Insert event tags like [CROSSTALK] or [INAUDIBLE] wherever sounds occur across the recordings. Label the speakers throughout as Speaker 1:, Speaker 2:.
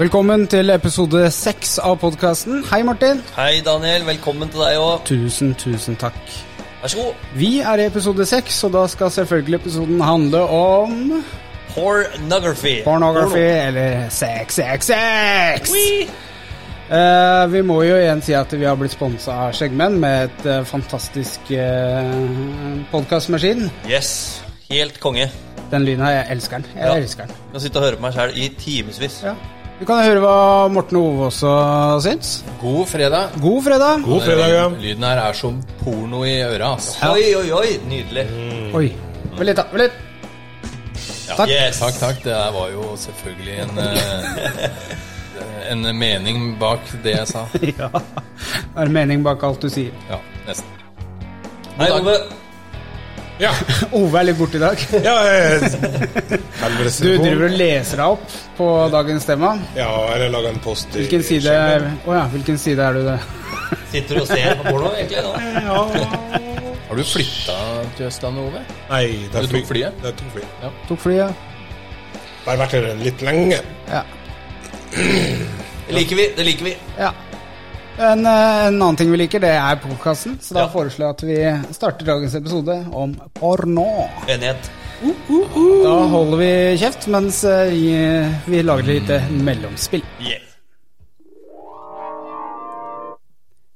Speaker 1: Velkommen til episode seks av podkasten. Hei, Martin.
Speaker 2: Hei, Daniel. Velkommen til deg òg.
Speaker 1: Tusen, tusen takk.
Speaker 2: Vær så god.
Speaker 1: Vi er i episode seks, og da skal selvfølgelig episoden handle om
Speaker 2: Pornography.
Speaker 1: pornografi, eller sex, sex, sex!
Speaker 2: Wee.
Speaker 1: Eh, vi må jo igjen si at vi har blitt sponsa av Skjeggmenn med et eh, fantastisk uh, podkastmaskin.
Speaker 2: Yes. Helt konge. Jeg
Speaker 1: Den lyden her, jeg elsker den. Jeg
Speaker 2: Ja.
Speaker 1: elsker den.
Speaker 2: kan sitte og høre på meg sjæl i timevis.
Speaker 1: Ja. Du kan høre hva Morten og Ove også syns.
Speaker 3: God fredag.
Speaker 1: God fredag.
Speaker 4: God fredag, ja.
Speaker 3: Lyden her er som porno i øra, ass. Mm.
Speaker 2: Oi, oi, oi. Nydelig.
Speaker 1: Oi. Vent litt, da. Vent litt. Takk.
Speaker 2: Yes.
Speaker 3: Takk, takk. Det der var jo selvfølgelig en eh, En mening bak det jeg sa.
Speaker 1: [LAUGHS] Ja. Er det mening bak alt du sier?
Speaker 3: Ja, nesten.
Speaker 2: Hei, Ove.
Speaker 4: Ja,
Speaker 1: Ove er litt borte i dag.
Speaker 4: ja eh,
Speaker 1: [LAUGHS]
Speaker 4: helvetes
Speaker 1: Du
Speaker 4: telefon.
Speaker 1: driver og leser deg opp på dagens tema.
Speaker 4: Ja, eller laga en post i
Speaker 1: Hvilken side,
Speaker 4: skjermen.
Speaker 1: Å ja, hvilken side er du det?
Speaker 2: Sitter du og ser på porno, egentlig? nå?
Speaker 3: Har du flytta til Østlandet, Ove?
Speaker 4: Nei, det er
Speaker 3: Du tok flyet?
Speaker 4: Det er to fly.
Speaker 1: [LAUGHS] Tok flyet.
Speaker 4: Bare vært her litt lenge.
Speaker 1: Ja.
Speaker 2: Det liker vi. Det liker vi.
Speaker 1: ja. En, eh, en annen ting vi liker, det er podkasten. Så da
Speaker 2: Ja.
Speaker 1: foreslår jeg at vi starter dagens episode om porno.
Speaker 2: Enighet.
Speaker 1: Da holder vi kjeft mens eh, vi, vi lager et lite mellomspill.
Speaker 2: Yeah.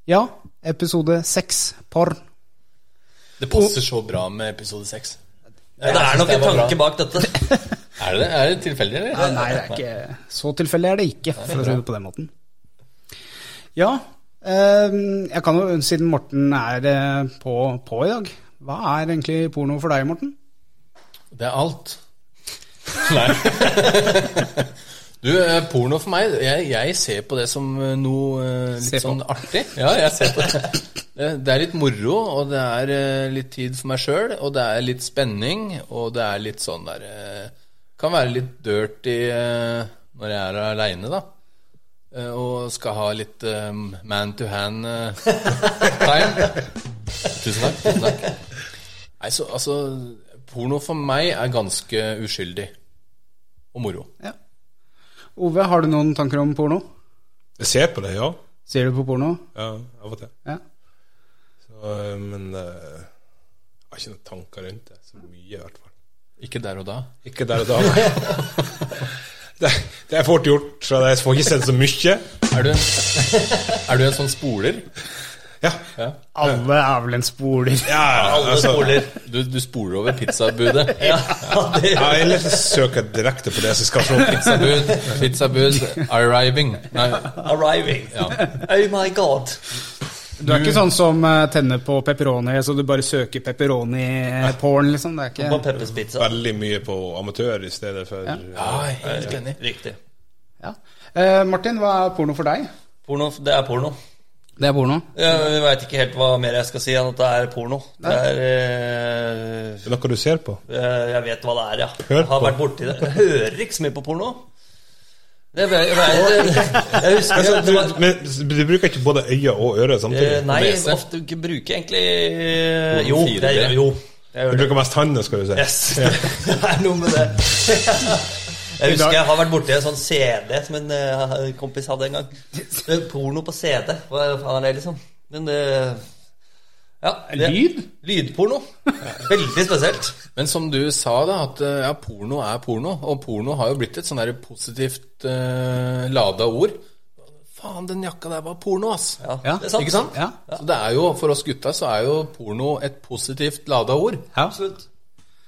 Speaker 1: Ja, episode seks porn.
Speaker 3: Det passer så bra med episode seks.
Speaker 2: Men det er nok en tanke bak dette.
Speaker 3: Er det det? Er det tilfeldig, eller?
Speaker 1: Ja, nei, det er ikke Så tilfeldig er det ikke, for å si det på den måten. Ja, eh, jeg kan jo, siden Morten er eh, på, på i dag Hva er egentlig porno for deg, Morten?
Speaker 3: Det er alt. Nei. [LAUGHS] Du, eh, porno for meg Jeg, jeg ser på det som eh, noe eh,
Speaker 1: Se
Speaker 3: litt
Speaker 1: på.
Speaker 3: sånn artig. Ja, jeg ser på det. [LAUGHS] Det det er litt moro, og det er eh, litt tid for meg sjøl, og det er litt spenning, og det er litt sånn der eh, Kan være litt dirty eh, når jeg er aleine, da. Eh, Og skal ha litt eh, man to hand eh, [LAUGHS] time. Tusen takk. Tusen takk. Nei, så, altså, porno for meg er ganske uskyldig. Og moro.
Speaker 1: Ja. Ove, har du noen tanker om porno?
Speaker 4: Jeg ser på det, ja.
Speaker 1: Ser du på porno?
Speaker 4: ja av og til.
Speaker 1: Ja.
Speaker 4: Så, eh, men eh, jeg har ikke noen tanker rundt det. Så mye, i hvert fall.
Speaker 3: Ikke der og da.
Speaker 4: Ikke der og
Speaker 3: [LAUGHS]
Speaker 4: da. nei. Det, det er fort gjort, så jeg får ikke sett så mye.
Speaker 3: Er du [LAUGHS] en, er du en sånn spoler?
Speaker 4: Ja,
Speaker 3: Ja.
Speaker 1: Alle er vel en spoler.
Speaker 4: ja
Speaker 2: Alle
Speaker 4: altså.
Speaker 2: spoler.
Speaker 3: Du, du spoler over pizzabudet.
Speaker 2: Ja, det
Speaker 4: Ja, eller så søker jeg direkte på det som skal se
Speaker 3: [LAUGHS]
Speaker 4: pizza.
Speaker 3: Pizzabud, pizzabud, arriving. Nei,
Speaker 2: Arriving.
Speaker 3: ja.
Speaker 2: Oh my god.
Speaker 1: Du er ikke sånn som eh, tenner på pepperoni, så du bare søker pepperoni-porn, liksom? Det er
Speaker 2: På
Speaker 1: ikke
Speaker 2: Peppers Pizza.
Speaker 4: Veldig mye på amatør i stedet for
Speaker 3: Ja, helt enig.
Speaker 2: Riktig.
Speaker 1: ja. eh, Martin, hva er porno for deg?
Speaker 2: Porno, det er porno.
Speaker 1: Det er porno.
Speaker 2: Ja, Jeg veit ikke helt hva mer jeg skal si enn at det er porno. Det er eh,
Speaker 4: Det er noe du ser på?
Speaker 2: Eh, Jeg vet hva det er, ja.
Speaker 4: Hør
Speaker 2: Jeg har
Speaker 4: på.
Speaker 2: vært borti det. Jeg hører ikke så mye på porno. Det, jeg, jeg, jeg husker
Speaker 4: Altså,
Speaker 2: det var-
Speaker 4: du, men du bruker ikke både øyne og øret
Speaker 2: Eh,
Speaker 4: samtidig?
Speaker 2: Nei,
Speaker 3: PC.
Speaker 2: ofte ikke bruker jeg egentlig Jo,
Speaker 3: Fire
Speaker 2: jeg,
Speaker 3: B.
Speaker 2: jo. Jeg
Speaker 4: Du
Speaker 2: gjør det.
Speaker 4: bruker mest hånda, skal du si.
Speaker 2: Yes. [LAUGHS] Det er noe med det.
Speaker 4: [LAUGHS]
Speaker 2: Jeg husker jeg har vært borti en sånn CD som en eh, kompis hadde en gang. Det er Porno på CD. Hva faen er det, liksom? Men eh, ja, det,
Speaker 1: Lyd?
Speaker 2: Lydporno. Veldig spesielt.
Speaker 3: Men som du sa, da, at eh, ja, porno er porno. Og porno har jo blitt et sånn der positivt uh, lada ord. Faen, den jakka der var porno, ass.
Speaker 2: Ja,
Speaker 1: Ja,
Speaker 2: det er sant.
Speaker 3: Ikke sant?
Speaker 1: Ja.
Speaker 3: Så det er jo, For oss gutta så er jo porno et positivt lada ord.
Speaker 1: Ja.
Speaker 2: Absolutt.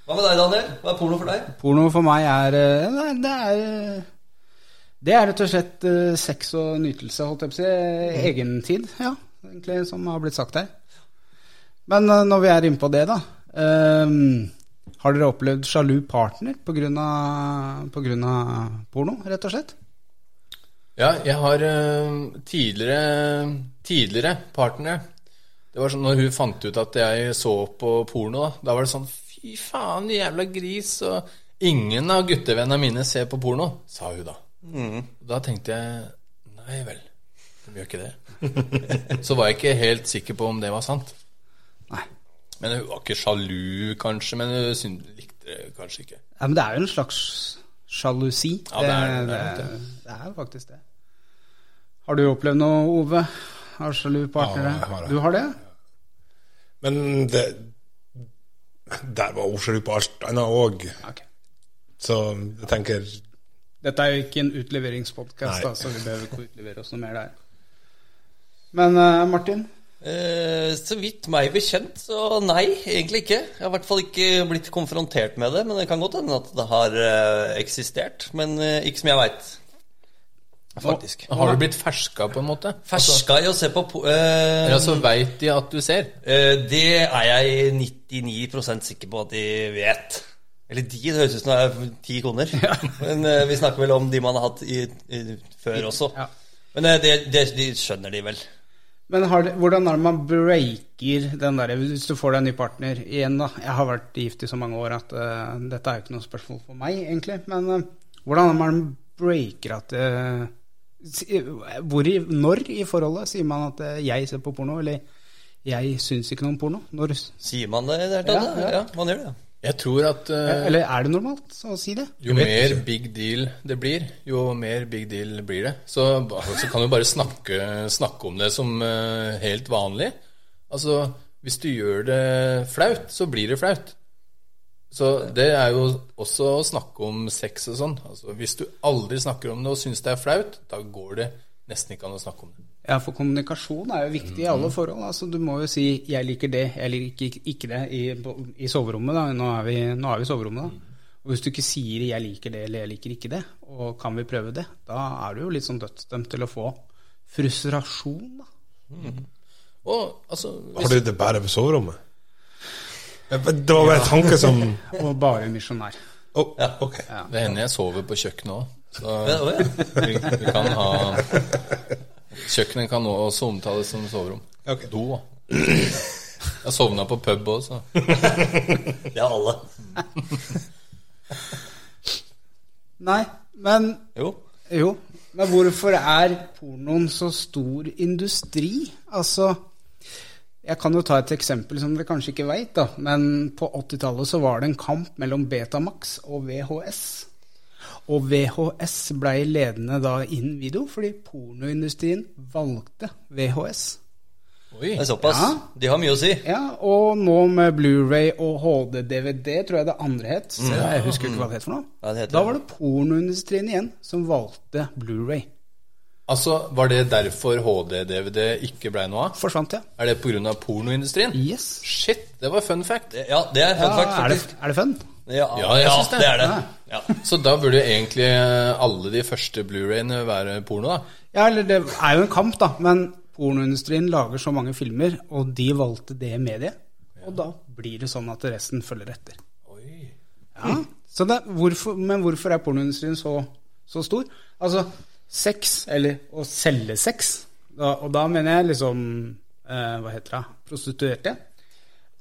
Speaker 2: Hva med deg, Daniel? Hva er porno for deg?
Speaker 1: Porno for meg er eh, Nei, det er eh, Det er rett og slett eh, sex og nytelse, holdt jeg på å si.
Speaker 3: Mm.
Speaker 1: Egentid, ja. Egentlig, som har blitt sagt her. Men eh, når vi er inne på det, da. ehm, har dere opplevd sjalu partner pga. porno, rett og slett?
Speaker 3: Ja, jeg har eh, tidligere, tidligere partnere Det var sånn når hun fant ut at jeg så på porno, da, da var det sånn Fy faen, du jævla gris. Og ingen av guttevennene mine ser på porno, sa hun da. Da tenkte jeg Nei vel, de gjør ikke det. [LAUGHS] Så var jeg ikke helt sikker på om det var sant.
Speaker 1: Nei.
Speaker 3: Men hun var ikke sjalu, kanskje, men hun syn- likte det kanskje ikke.
Speaker 1: Ja, men det er jo en slags Sjalusi.
Speaker 3: Ja, det er- det er
Speaker 1: det, det er faktisk det. Har du opplevd noe, Ove? Av sjalu partnere?
Speaker 4: Ja, jeg har det.
Speaker 1: du har det?
Speaker 4: Men det Der var Oslo på alt annet òg.
Speaker 1: Ok.
Speaker 4: Så jeg tenker
Speaker 1: Dette er jo ikke en utleveringspodkast,
Speaker 4: Nei.
Speaker 1: da, så vi behøver ikke å utlevere oss noe mer der. Men eh, Martin?
Speaker 2: Eh, så vidt meg bekjent, så nei, egentlig ikke. Jeg har i hvert fall ikke blitt konfrontert med det, men det kan godt hende at det har eh, eksistert. Men eh, ikke som jeg veit. Faktisk.
Speaker 3: Har du blitt ferska, på en måte?
Speaker 2: Ferska i å se på po eh,
Speaker 3: Eller altså veit de at du ser?
Speaker 2: eh, Det er jeg 99 sikker på at de vet. Eller de, det høres ut som det er ti koner. Men eh, vi snakker vel om de man har hatt i, i, før også.
Speaker 1: Ja.
Speaker 2: Men eh, det, det, de skjønner de vel.
Speaker 1: Men har det, hvordan er det man breaker den der, hvis du får deg en ny partner igjen, da? Jeg har vært gift i så mange år at eh, dette er jo ikke noe spørsmål for meg, egentlig. Men eh, hvordan er det man breaker at eh, si- hvor i, Når i forholdet sier man at eh, 'jeg ser på porno', eller 'jeg syns ikke noe om porno'? Når,
Speaker 2: Sier man det i det hele tatt?
Speaker 1: Ja,
Speaker 2: Ja,
Speaker 1: ja.
Speaker 2: ja. man gjør det. ja.
Speaker 3: Jeg tror at eh,
Speaker 1: eller er det normalt å si det?
Speaker 3: Jo mer big deal det blir, jo mer big deal blir det. Så, ba- så kan du bare snakke, snakke om det som eh, helt vanlig. Altså, hvis du gjør det flaut, så blir det flaut. Så det er jo også å snakke om sex og sånn. Altså, hvis du aldri snakker om det og syns det er flaut, da går det nesten ikke an å snakke om det.
Speaker 1: Ja, for kommunikasjon er jo viktig i alle forhold. Altså, du må jo si 'jeg liker det', 'jeg liker ikke- ikke det' i, i soverommet. Da. Nå, er vi, nå er vi i soverommet, da. Og hvis du ikke sier 'jeg liker det' eller 'jeg liker ikke det', og 'kan vi prøve det', da er du jo litt sånn dødsdømt til å få frustrasjon, da.
Speaker 3: Og altså
Speaker 4: Har du det bare på soverommet? Det var bare en tanke som
Speaker 2: [LAUGHS]
Speaker 4: Å,
Speaker 1: Og bare misjonær.
Speaker 4: ok.
Speaker 3: Det hender jeg sover på kjøkkenet òg. Så
Speaker 2: Ja, å, ja.
Speaker 3: vi, vi kan ha Kjøkkenet kan også omtales som soverom.
Speaker 4: Ok.
Speaker 3: Do. da. Jeg sovna på pub òg, så.
Speaker 2: Det er alle.
Speaker 1: Nei, men
Speaker 2: [LAUGHS] Jo.
Speaker 1: Jo, men hvorfor er pornoen så stor industri? Altså, jeg kan jo ta et eksempel som dere kanskje ikke veit, da. Men på 80-tallet så var det en kamp mellom Betamax og VHS. Og VHS blei ledende da innen video, fordi pornoindustrien valgte VHS.
Speaker 3: Oi.
Speaker 2: Det er såpass.
Speaker 1: Ja.
Speaker 2: De har mye å si.
Speaker 1: Ja, og nå med Blu-ray og HD-DVD, tror jeg det andre het. Så jeg husker ikke hva det het for noe.
Speaker 2: Mm. Ja, det heter
Speaker 1: da
Speaker 2: det.
Speaker 1: var det pornoindustrien igjen som valgte Blu-ray.
Speaker 3: Altså, Var det derfor HD-DVD ikke blei noe av?
Speaker 1: Forsvant, ja.
Speaker 3: Er det pga. pornoindustrien?
Speaker 1: Yes.
Speaker 3: Shit, det var fun fact.
Speaker 2: Det- Ja, det er fun fact,
Speaker 1: er,
Speaker 2: faktisk.
Speaker 1: det, er det fun?
Speaker 2: Ja,
Speaker 3: Ja, jeg synes det.
Speaker 2: det er det. Ja.
Speaker 3: [LAUGHS] Så da burde jo egentlig alle de første Blu-rayene være porno, da.
Speaker 1: Ja, eller det er jo en kamp, da. Men pornoindustrien lager så mange filmer, og de valgte det mediet. Og da blir det sånn at resten følger etter.
Speaker 3: Oi.
Speaker 1: Ja. Så det, hvorfor, men hvorfor er pornoindustrien så, så stor? Altså, sex, eller å selge sex, da, og da mener jeg liksom eh, Hva heter det? Prostituerte.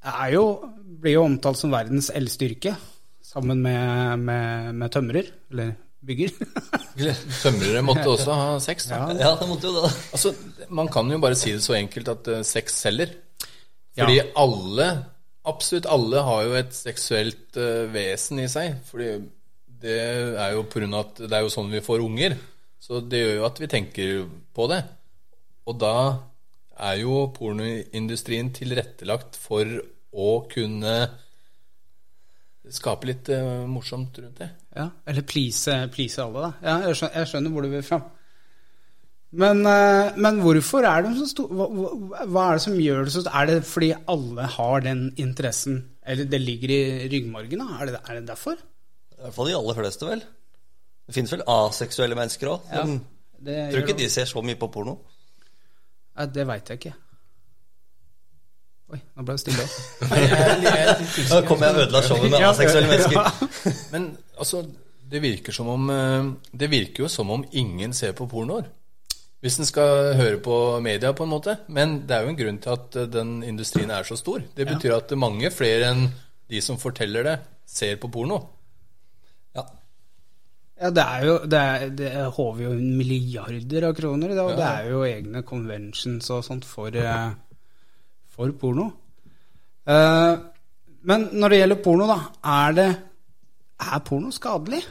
Speaker 1: Er jo, blir jo omtalt som verdens eldste yrke, sammen med, med, med tømrer. Eller bygger. [LAUGHS]
Speaker 3: Tømrere måtte også ha sex. da.
Speaker 2: ja, det måtte jo det.
Speaker 3: Altså, Man kan jo bare si det så enkelt at eh, sex selger. Fordi alle, absolutt alle, har jo et seksuelt eh, vesen i seg. Fordi det er jo på grunn av at det er jo sånn vi får unger. Så det gjør jo at vi tenker på det. Og da er jo pornoindustrien tilrettelagt for å kunne skape litt eh, morsomt rundt det.
Speaker 1: Ja, eller please, please alle, da. Ja, jeg skjønner, jeg skjønner hvor du vil fram. Men, eh, men hvorfor er de så store? Hva, hva- hva er det som gjør det så Er det fordi alle har den interessen? Eller det ligger i ryggmargen, da? Er det, er det derfor?
Speaker 2: I hvert fall de aller fleste, vel. Det fins vel aseksuelle mennesker òg.
Speaker 1: Ja,
Speaker 2: Jeg tror ikke de ser så mye på porno.
Speaker 1: Nei, det veit jeg ikke. Oi, nå ble det stille.
Speaker 2: Da kom jeg og ødela showet med aseksuelle mennesker.
Speaker 3: Men altså, det virker som om eh, Det virker jo som om ingen ser på pornoer. Hvis en skal høre på media, på en måte. Men det er jo en grunn til at eh, den industrien er så stor. Det betyr at mange flere enn de som forteller det, ser på porno.
Speaker 2: Ja.
Speaker 1: Ja, det er jo Det, er, det håver jo inn milliarder av kroner i det, og det er jo egne conventions og sånt for, eh, for porno. Eh, men når det gjelder porno, da, er det Er porno skadelig?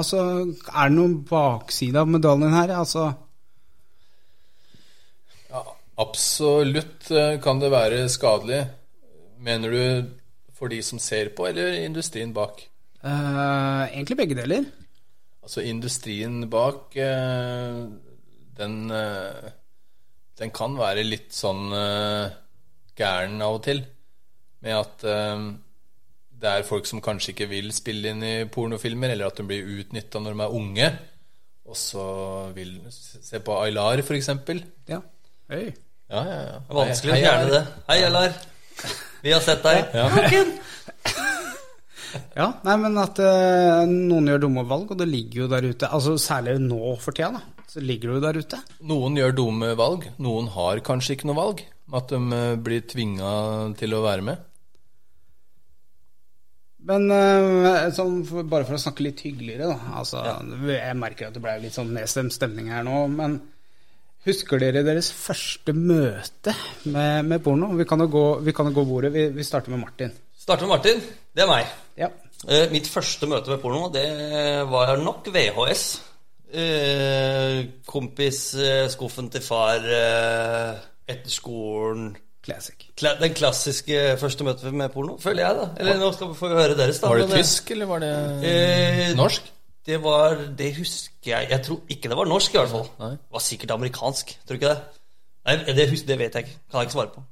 Speaker 1: Altså, er det noen bakside av medaljen her? Altså,
Speaker 3: Ja, absolutt eh, kan det være skadelig. Mener du for de som ser på, eller industrien bak?
Speaker 1: eh, egentlig begge deler.
Speaker 3: Altså industrien bak, eh, den, eh, den kan være litt sånn eh, gæren av og til. Med at eh, det er folk som kanskje ikke vil spille inn i pornofilmer, eller at de blir utnytta når de er unge. Og så vil Se på Aylar, for eksempel.
Speaker 1: Ja. Hei.
Speaker 3: Ja, ja, ja.
Speaker 2: Det er vanskelig å
Speaker 3: Hei, hei,
Speaker 2: fjerne
Speaker 3: Aylar.
Speaker 2: det. Hei, Ellar. Vi har sett deg.
Speaker 1: [LAUGHS] Ja, nei, men at eh, noen gjør dumme valg, og det ligger jo der ute. Altså Særlig nå for tida, da. Så ligger det jo der ute.
Speaker 3: Noen gjør dumme valg. Noen har kanskje ikke noe valg. At de eh, blir tvinga til å være med.
Speaker 1: Men eh, sånn, for, bare for å snakke litt hyggeligere, da. Altså, Jeg merker at det ble litt sånn nedstemt stemning her nå, men husker dere deres første møte med, med porno? Vi kan jo gå, vi kan jo gå bordet. Vi, vi starter med Martin.
Speaker 2: Starter med Martin. Det er meg.
Speaker 1: Ja.
Speaker 2: Eh, mitt første møte med porno, det var nok VHS. Eh, Kompisskuffen til far eh, etter skolen.
Speaker 1: Classic.
Speaker 2: Kla den klassiske første møtet med porno, føler jeg, da. Eller nå skal vi få høre deres, da.
Speaker 3: Var
Speaker 2: men,
Speaker 3: det
Speaker 2: eh,
Speaker 3: tysk, eller var det
Speaker 2: Eh,
Speaker 3: norsk?
Speaker 2: Det var Det husker jeg Jeg tror ikke det var norsk, i hvert fall.
Speaker 3: Nei.
Speaker 2: Det var sikkert amerikansk. Tror du ikke det? Nei, det, hus det vet jeg ikke. Kan jeg ikke svare på.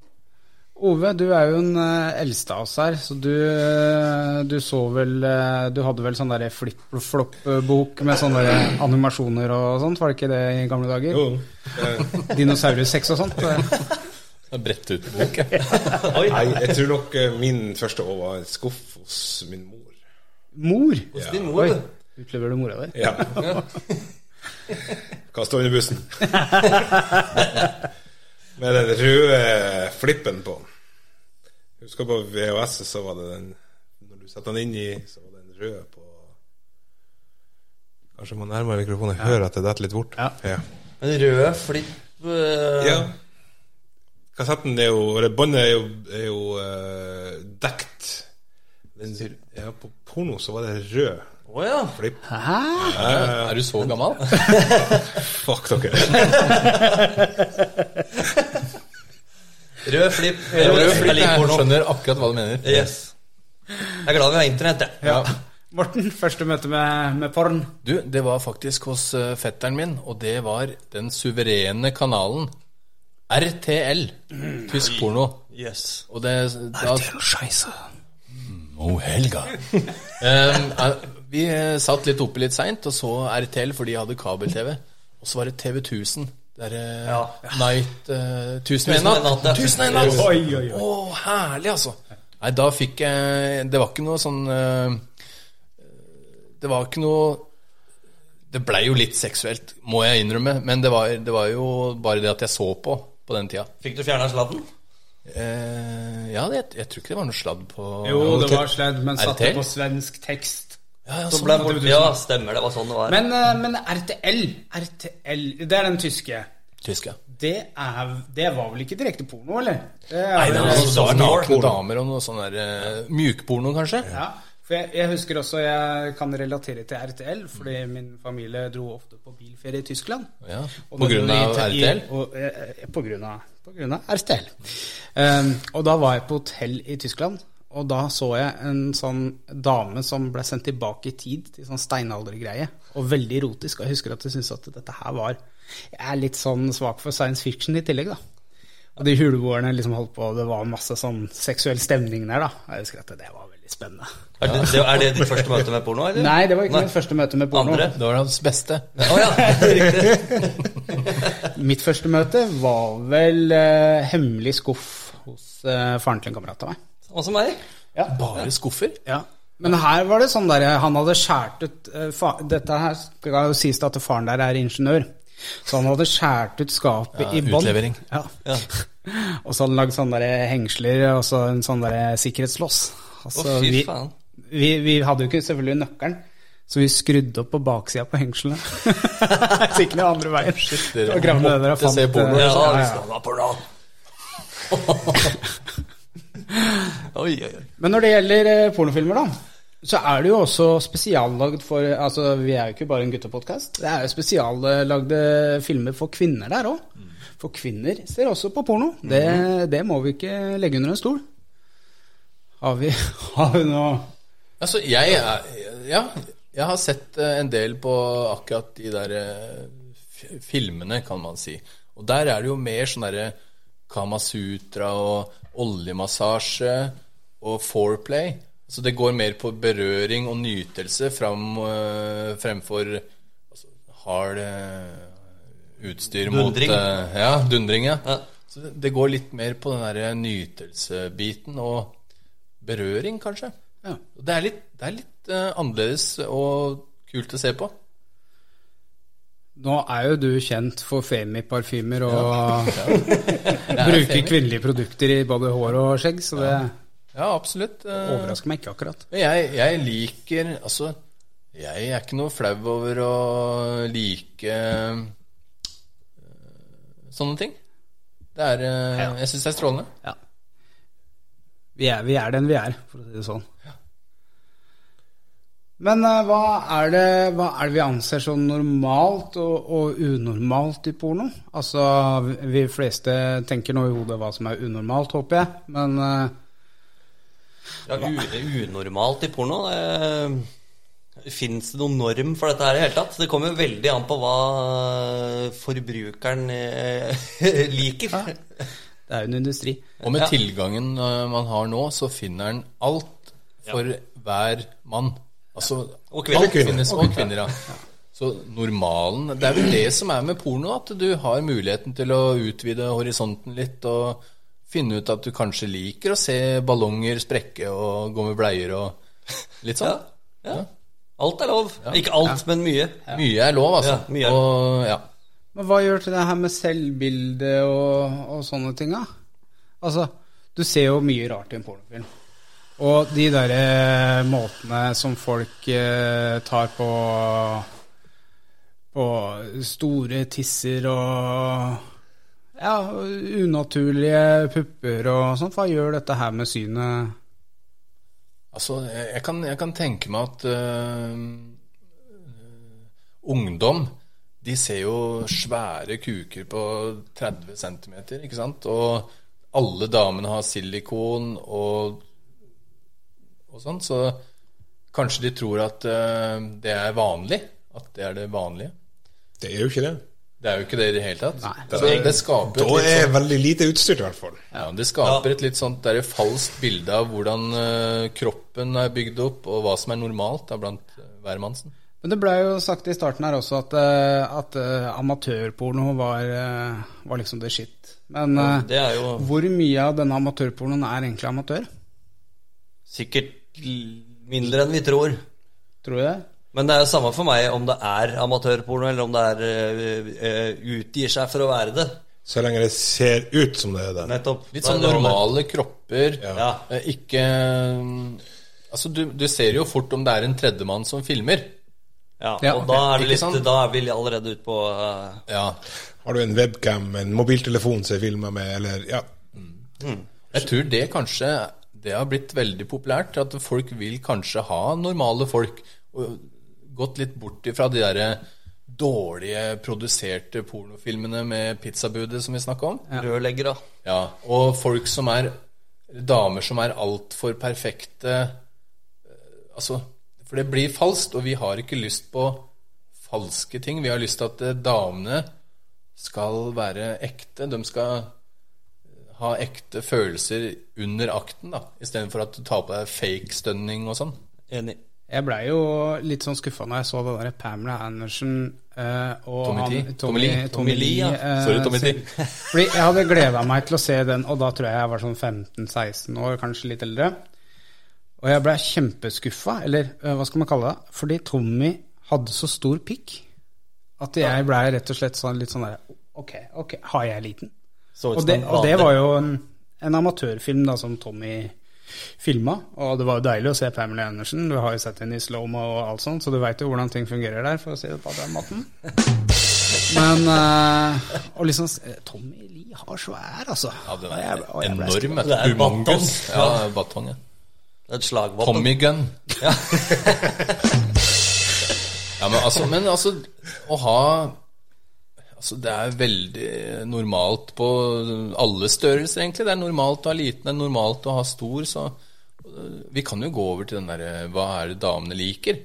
Speaker 1: Ove, du er jo den eh, eldste av oss her, så du, eh, du så vel eh, Du hadde vel sånn derre flip-flop-bok med sånne animasjoner og sånt, var det ikke det i gamle dager?
Speaker 4: Jo, eh,
Speaker 1: Dinosaurus-sex og sånt?
Speaker 3: Det er Brett ut bok. ja.
Speaker 2: Oi,
Speaker 4: nei, jeg tror nok eh, min første år var en skuff hos min mor.
Speaker 1: Mor!
Speaker 2: hos din mor,
Speaker 1: Oi,
Speaker 2: du.
Speaker 1: utlever du mora di?
Speaker 4: [LAUGHS] Ja. Kasta under bussen. [LAUGHS] Med den røde flippen på. Husker på VHS, så var det den Når du setter den inn i, så var den røde på Kanskje man nærmer mikrofonen og hører at det detter litt bort.
Speaker 1: Ja.
Speaker 4: Ja.
Speaker 2: En rød flipp eh,
Speaker 4: Ja. Kassetten er jo Eller båndet er jo, er jo eh, dekt. Men ja, på porno så var det rød
Speaker 2: Å ja.
Speaker 4: flipp.
Speaker 1: Hæ?
Speaker 3: Er du så gammel?
Speaker 4: Fuck dere.
Speaker 2: Rød flipp.
Speaker 3: Rød
Speaker 2: Jeg
Speaker 3: flipp,
Speaker 2: liker
Speaker 3: jeg
Speaker 2: porno.
Speaker 3: skjønner akkurat hva du mener.
Speaker 2: Yes. Jeg er glad vi har internett, jeg.
Speaker 3: Ja.
Speaker 1: Morten, første møte med, med porn.
Speaker 3: Du, det var faktisk hos eh, fetteren min, og det var den suverene kanalen RTL. Tysk porno.
Speaker 2: Yes.
Speaker 3: Og det da,
Speaker 1: Scheisse.
Speaker 3: Oh, helga. [LAUGHS] Em, eh, vi eh, satt litt oppe litt seint og så RTL, for de hadde kabel-TV. Og så var det TV 1000. Der, eh,
Speaker 2: Ja.
Speaker 3: Night eh, 1000 og en
Speaker 2: Tusen og en natt, ja.
Speaker 3: natt. Tusen og en natt.
Speaker 1: [LAUGHS] Oi, oi,
Speaker 3: Å,
Speaker 1: oi.
Speaker 3: herlig, altså. Nei, da fikk jeg Det var ikke noe sånn eh, Det var ikke noe Det blei jo litt seksuelt, må jeg innrømme, men det var, det var jo bare det at jeg så på på den tida.
Speaker 2: Fikk du fjerna sladden?
Speaker 3: Eh, ja, jeg, jeg tror ikke det var noe sladd på
Speaker 1: Jo, det var sledd, men satte
Speaker 3: RTL?
Speaker 1: på svensk tekst.
Speaker 3: ja, ja,
Speaker 2: Så
Speaker 3: sånn,
Speaker 2: ble
Speaker 3: ja.
Speaker 2: bort... Ja, stemmer det. var sånn det var.
Speaker 1: Men, eh, men RTL, RTL, det er den tyske.
Speaker 3: Tysk, ja.
Speaker 1: Det, er, det var vel ikke direkte porno, eller? Det er
Speaker 3: Nei, det
Speaker 1: vel-
Speaker 3: var
Speaker 2: altså,
Speaker 3: sånn nakne
Speaker 2: porno.
Speaker 3: damer og noe sånn der eh, mjukporno, kanskje.
Speaker 1: Ja, for jeg, jeg husker også jeg kan relatere til RTL, fordi min familie dro ofte på bilferie i Tyskland.
Speaker 3: Ja.
Speaker 1: Og
Speaker 3: På
Speaker 1: da
Speaker 3: grunn
Speaker 1: dro vi
Speaker 3: av
Speaker 1: til- i-
Speaker 3: RTL.
Speaker 1: og, eh, på grunn av, på grunn av RTL. Ehm, og da var jeg på hotell i Tyskland, og da så jeg en sånn dame som ble sendt tilbake i tid til sånn steinaldergreie, og veldig erotisk. Og jeg husker at jeg syntes at dette her var Jeg er litt sånn svak for science fiction i tillegg, da. Og de huleboerne liksom holdt på, og det var masse sånn seksuell stemning der, da. Jeg husker at det var veldig spennende.
Speaker 2: Er, det, det, er det ditt første møte med porno, eller?
Speaker 1: Nei, det var ikke
Speaker 2: Nei.
Speaker 1: mitt første møte med porno.
Speaker 2: Andre?
Speaker 3: Det var hans beste.
Speaker 2: Å ja. [LAUGHS] Riktig.
Speaker 1: Mitt første møte var vel eh, hemmelig skuff hos eh, faren til en kamerat av meg.
Speaker 2: Samme som meg.
Speaker 1: Ja.
Speaker 3: Bare skuffer.
Speaker 1: Ja. Men her var det sånn der Han hadde skåret ut eh, fa Dette her skal jo sies da at faren der er ingeniør. Så han hadde skåret ut skapet
Speaker 3: Ja,
Speaker 1: i bånn.
Speaker 3: utlevering.
Speaker 1: Ja.
Speaker 2: Ja.
Speaker 1: [LAUGHS] Og så hadde han lagd sånne der eh, hengsler og så en sånn der sikkerhetslås.
Speaker 2: Å,
Speaker 1: Altså,
Speaker 2: fy
Speaker 1: vi,
Speaker 2: faen.
Speaker 1: vi, vi hadde jo ikke selvfølgelig nøkkelen, så vi skrudde opp på baksida på hengslene. [LAUGHS] så gikk det andre veien.
Speaker 3: dere
Speaker 1: og gravde ned der og
Speaker 3: måtte
Speaker 1: fant
Speaker 3: se porno.
Speaker 1: eh,
Speaker 2: Ja,
Speaker 1: ja,
Speaker 2: liksom. vi
Speaker 1: ja.
Speaker 2: skal ha porno. [LAUGHS] oi, oi, oi.
Speaker 1: Men når det gjelder eh, pornofilmer, da. Så er det jo også spesiallagd for Altså, vi er jo ikke bare en guttepodkast. Det er jo spesiallagde filmer for kvinner der òg.
Speaker 3: Mm.
Speaker 1: For kvinner ser også på porno. Det, det må vi ikke legge under en stol. Har vi, [LAUGHS] har vi noe
Speaker 3: Altså, jeg er Ja, jeg har sett eh, en del på akkurat de der eh, fi- filmene, kan man si. Og der er det jo mer sånn derre Kamasutra og oljemassasje og foreplay. Så det går mer på berøring og nytelse fram, eh, fremfor altså, hard eh, utstyr
Speaker 2: Dundring.
Speaker 3: mot eh, Ja, dundring, ja.
Speaker 2: Ja.
Speaker 3: Så det, det går litt mer på den derre nytelsebiten og berøring, kanskje.
Speaker 1: Ja.
Speaker 3: Og Det er litt, det er litt eh, annerledes og kult å se på.
Speaker 1: Nå er jo du kjent for Femi-parfymer [LAUGHS] og
Speaker 3: Det er
Speaker 1: bruker
Speaker 3: femi.
Speaker 1: kvinnelige produkter i både hår og skjegg, så det
Speaker 3: Ja, absolutt. eh,
Speaker 1: overrasker meg ikke akkurat.
Speaker 3: men Jeg, jeg liker Altså, jeg er ikke noe flau over å like eh, sånne ting. Det er eh,
Speaker 1: Ja.
Speaker 3: Jeg syns det er strålende.
Speaker 1: Vi er, vi er den vi er, for å si det sånn. Men eh, hva, er det, hva er det vi anser som normalt og, og unormalt i porno? Altså, vi- vi fleste tenker nå i hodet hva som er unormalt, håper jeg, men eh,
Speaker 2: Ja, u det er unormalt i porno. Fins det noen norm for dette her i hele tatt? Det kommer jo veldig an på hva eh, forbrukeren eh, [LAUGHS] liker.
Speaker 1: det er jo en industri.
Speaker 3: Og med
Speaker 2: Ja.
Speaker 3: tilgangen eh, man har nå, så finner en alt for hver mann. Altså,
Speaker 2: Og kvinner.
Speaker 3: Alt finnes, og kvinner, ja. Så normalen Det er vel det som er med porno, at du har muligheten til å utvide horisonten litt og finne ut at du kanskje liker å se ballonger sprekke og gå med bleier og litt sånn.
Speaker 2: Ja. Alt er lov. Ikke alt, men mye.
Speaker 3: Mye er lov, altså.
Speaker 2: Ja, mye er
Speaker 3: Og, ja.
Speaker 1: Men hva gjør til det her med selvbilde og, og sånne ting, da? Altså, du ser jo mye rart i en pornofilm. Og de derre måtene som folk eh, tar på På store tisser og Ja, unaturlige pupper og sånt. Hva gjør dette her med synet?
Speaker 3: Altså, jeg jeg kan, jeg kan tenke meg at øh, øh, ungdom de ser jo svære kuker på 30 cm, ikke sant? Og alle damene har silikon og, og sånn, så kanskje de tror at øh, det er vanlig. At det er det vanlige.
Speaker 4: Det er jo ikke det.
Speaker 3: Det er jo ikke det i det hele tatt.
Speaker 1: Nei.
Speaker 3: Så det, det skaper
Speaker 4: Da
Speaker 3: et litt
Speaker 4: er jeg veldig lite utstyrt, i hvert fall.
Speaker 3: ja, Det skaper et litt sånt der falskt bilde av hvordan eh, kroppen er bygd opp, og hva som er normalt da, blant eh, hvermannsen.
Speaker 1: Men det ble jo sagt i starten her også at, eh, at eh, amatørporno var, eh, var liksom det shit. Men eh,
Speaker 2: Det er jo
Speaker 1: Hvor mye av denne amatørpornoen er egentlig amatør?
Speaker 2: sikkert l- mindre enn vi tror.
Speaker 1: Tror du det?
Speaker 2: Men det er jo samme for meg om det er amatørporno, eller om det er eh, eh, utgir seg for å være det.
Speaker 4: Så lenge det ser ut som det er det.
Speaker 2: Nettopp.
Speaker 3: Litt sånn
Speaker 2: Det er det.
Speaker 3: normale kropper.
Speaker 2: Ja.
Speaker 3: eh, Ikke eh, Altså, du, du ser jo fort om det er en tredjemann som filmer.
Speaker 2: Ja,
Speaker 1: Ja,
Speaker 2: og da er, det
Speaker 3: ikke
Speaker 2: litt,
Speaker 3: sant?
Speaker 2: da er vi allerede ute på eh,
Speaker 3: Ja.
Speaker 4: Har du en webcam, en mobiltelefon som jeg filmer med, eller ja.
Speaker 3: Jeg tror det kanskje Det har blitt veldig populært, at folk vil kanskje ha normale folk. Og gått litt bort ifra de derre dårlige produserte pornofilmene med pizzabudet som vi snakka om.
Speaker 2: rørleggere.
Speaker 3: Ja, og folk som er Damer som er altfor perfekte eh, Altså, for det blir falskt, og vi har ikke lyst på falske ting. Vi har lyst til at eh, damene skal være ekte. De skal eh, ha ekte følelser under akten, da. Istedenfor at du tar på deg fake stønning og sånn.
Speaker 2: Enig.
Speaker 1: Jeg blei jo litt sånn skuffa når jeg så det der Pamela Andersen eh, og
Speaker 3: Tommy T.
Speaker 1: han-
Speaker 3: Tommy Lee.
Speaker 1: Tommy
Speaker 2: Tommy Lee, ja.
Speaker 1: eh,
Speaker 3: Sorry, Tommy T.
Speaker 1: sin- Fordi jeg hadde gleda meg til å se den, og da tror jeg jeg var sånn 15-16 år, kanskje litt eldre. Og jeg blei kjempeskuffa, eller eh, hva skal man kalle det, fordi Tommy hadde så stor pikk at jeg blei rett og slett sånn, litt sånn der Ok, ok, har jeg liten?
Speaker 2: Så ut
Speaker 1: Og
Speaker 2: som
Speaker 1: det,
Speaker 2: en
Speaker 1: og det
Speaker 2: vane.
Speaker 1: var jo en, en amatørfilm da, som Tommy filma, og det var jo deilig å se Pamela Andersen. Du har jo sett henne i slow-mo og alt sånt, så du veit jo hvordan ting fungerer der, for å si det på den [LAUGHS] måten. Men eh, Og liksom eh, Tommy Lee har svær, altså.
Speaker 3: Ja, den
Speaker 1: Og jeg- og
Speaker 3: er
Speaker 1: jeg ble-
Speaker 3: enorm. vet
Speaker 2: Det er
Speaker 3: du.
Speaker 2: batong.
Speaker 3: Humongous. Ja, batong, ja.
Speaker 2: Det Et slagvåpen.
Speaker 3: Tommy gun. [LAUGHS] ja, men altså, men altså Å ha Altså, det er veldig normalt på alle størrelser, egentlig. Det er normalt å ha liten, det er normalt å ha stor, så øh, Vi kan jo gå over til den derre Hva er det damene liker?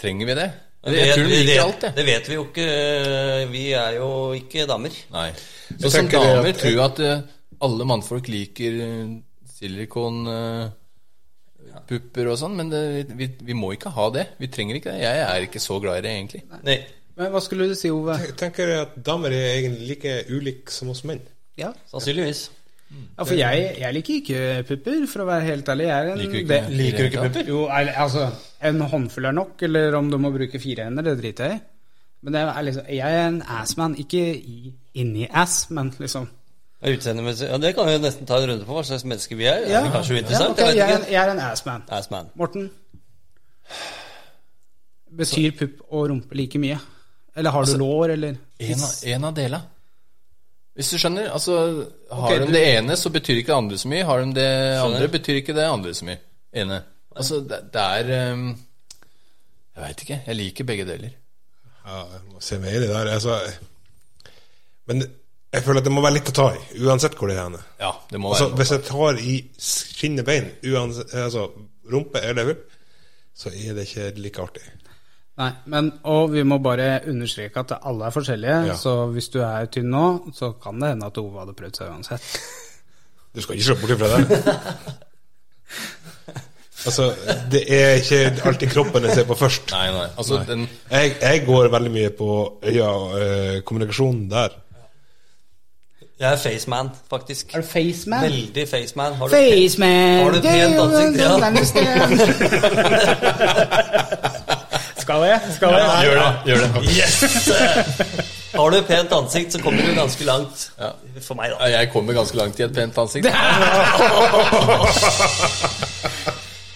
Speaker 3: Trenger vi det?
Speaker 2: Det
Speaker 3: Jeg
Speaker 2: vet-
Speaker 3: tror de
Speaker 2: vi
Speaker 3: liker
Speaker 2: vet-
Speaker 3: alt, jeg.
Speaker 2: Det vet vi jo ikke. Vi er jo ikke damer.
Speaker 3: Nei. Så som
Speaker 4: tenker det
Speaker 3: damer
Speaker 4: at-
Speaker 3: tror jeg at eh, alle mannfolk liker eh, silikon eh, pupper og sånn, men det, vi, vi må ikke ha det. Vi trenger ikke det. Jeg er ikke så glad i det, egentlig.
Speaker 2: Nei.
Speaker 1: Men hva skulle du si, Ove?
Speaker 4: Jeg tenker at damer er egentlig like ulike som oss menn.
Speaker 1: Ja,
Speaker 2: Sannsynligvis.
Speaker 1: ja for jeg, jeg liker ikke pupper, for å være helt ærlig. Jeg er en
Speaker 3: Liker du ikke-
Speaker 1: del-
Speaker 3: liker du ikke pupper?
Speaker 1: Jo, er- altså, en håndfull er nok, eller om du må bruke fire hender, det driter jeg i. Men jeg er, liksom, jeg er en assman, ikke i, inni ass, men liksom
Speaker 2: Ja, Utseendemessig Ja, det kan vi jo nesten ta en runde på, hva slags mennesker vi er. Er
Speaker 1: Ja.
Speaker 2: det kanskje uinteressant?
Speaker 1: Ja, ok,
Speaker 2: jeg
Speaker 1: jeg,
Speaker 2: vet ikke.
Speaker 1: jeg er en assman.
Speaker 2: Assman.
Speaker 1: Morten? Betyr pupp og rumpe like mye? Eller har du lår, eller
Speaker 3: En, av- en av dela. Hvis du skjønner, altså Har
Speaker 1: Ok,
Speaker 3: de
Speaker 1: du-
Speaker 3: det ene, så betyr ikke det andre så mye. Har de det andre, betyr ikke det andre så mye. Ene. Altså, det, det er eh, Jeg veit ikke. Jeg liker begge deler.
Speaker 4: Ja, jeg må se meg i det der. Altså, men jeg føler at det må være litt å ta i, uansett hvor det er henne.
Speaker 3: Ja, det må
Speaker 4: Altså,
Speaker 3: være noe.
Speaker 4: hvis jeg tar i skinnebein, uansett, altså rumpe eller hull, så er det ikke like artig.
Speaker 1: Nei, men og vi må bare understreke at alle er forskjellige,
Speaker 4: Ja.
Speaker 1: så hvis du er tynn nå, så kan det hende at Ove hadde prøvd seg uansett.
Speaker 4: Du skal ikke se bort ifra
Speaker 3: [LAUGHS]
Speaker 4: det. altså, det er ikke alltid kroppen jeg ser på først.
Speaker 3: Nei, nei. Altså,
Speaker 4: Nei.
Speaker 3: den
Speaker 4: Jeg, jeg går veldig mye på øya og eh, kommunikasjonen der.
Speaker 2: Jeg er faceman, faktisk.
Speaker 1: Er du faceman?
Speaker 2: Veldig faceman. Har du-
Speaker 1: Faceman!
Speaker 2: Har du pent ansikt? Ja.
Speaker 1: ansikt? [LAUGHS] Skal jeg? Skal jeg?
Speaker 3: Gjør det. gjør det.
Speaker 2: Yes! [LAUGHS] Har du pent ansikt, så kommer du ganske langt. For meg, da.
Speaker 3: Ja, Jeg kommer ganske langt i et pent ansikt. [LAUGHS]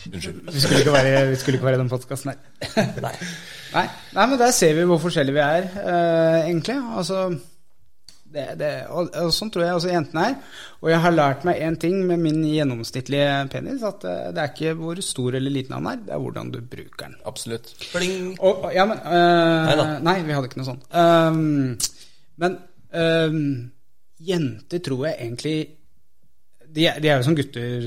Speaker 3: Unnskyld.
Speaker 1: Vi skulle ikke være, vi skulle ikke være i den podkasten her.
Speaker 2: Nei.
Speaker 1: Nei. Nei, men der ser vi hvor forskjellige vi er, eh, egentlig. Altså, det, det, og, og sånn tror jeg også jentene er. Og jeg har lært meg én ting med min gjennomsnittlige penis, at eh, det er ikke hvor stor eller liten han er, det er hvordan du bruker den.
Speaker 3: Absolutt.
Speaker 2: Pling.
Speaker 1: Og, og- ja, men eh,
Speaker 2: Neida.
Speaker 1: Nei, vi hadde ikke noe sånt. Ehm, men ehm, jenter tror jeg egentlig de er, de er jo som gutter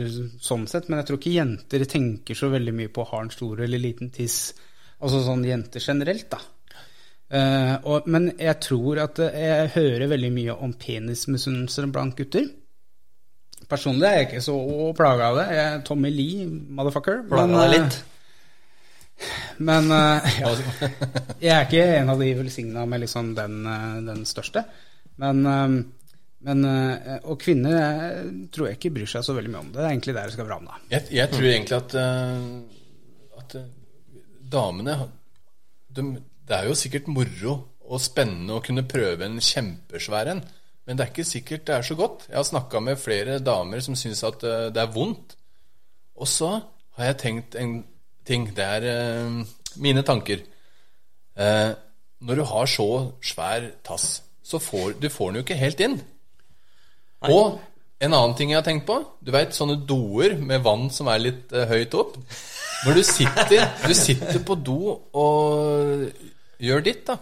Speaker 1: sånn sett, men jeg tror ikke jenter tenker så veldig mye på har en stor eller liten tiss. Altså sånn jenter generelt, da. Eh, og, men jeg tror at eh, jeg hører veldig mye om penismisunnelser blant gutter. Personlig er jeg ikke så plaga av det. Jeg er Tommy Lee, motherfucker.
Speaker 2: Plaga
Speaker 1: men,
Speaker 2: deg
Speaker 1: eh,
Speaker 2: litt.
Speaker 1: men eh, ja, jeg er ikke en av de velsigna med liksom den, eh, den største. Men, eh, men eh, Og kvinner eh, tror jeg ikke bryr seg så veldig mye om det. Det er egentlig der det skal fram, da.
Speaker 3: Jeg, jeg tror egentlig at, eh, at eh, damene de, Det er jo sikkert moro og spennende å kunne prøve en kjempesvær en, men det er ikke sikkert det er så godt. Jeg har snakka med flere damer som syns at eh, det er vondt. Og så har jeg tenkt en ting. Det er eh, mine tanker. Eh, når du har så svær tass, så får du får den jo ikke helt inn. Og en annen ting jeg har tenkt på Du vet sånne doer med vann som er litt eh, høyt opp Når du sitter, du sitter på do og gjør ditt da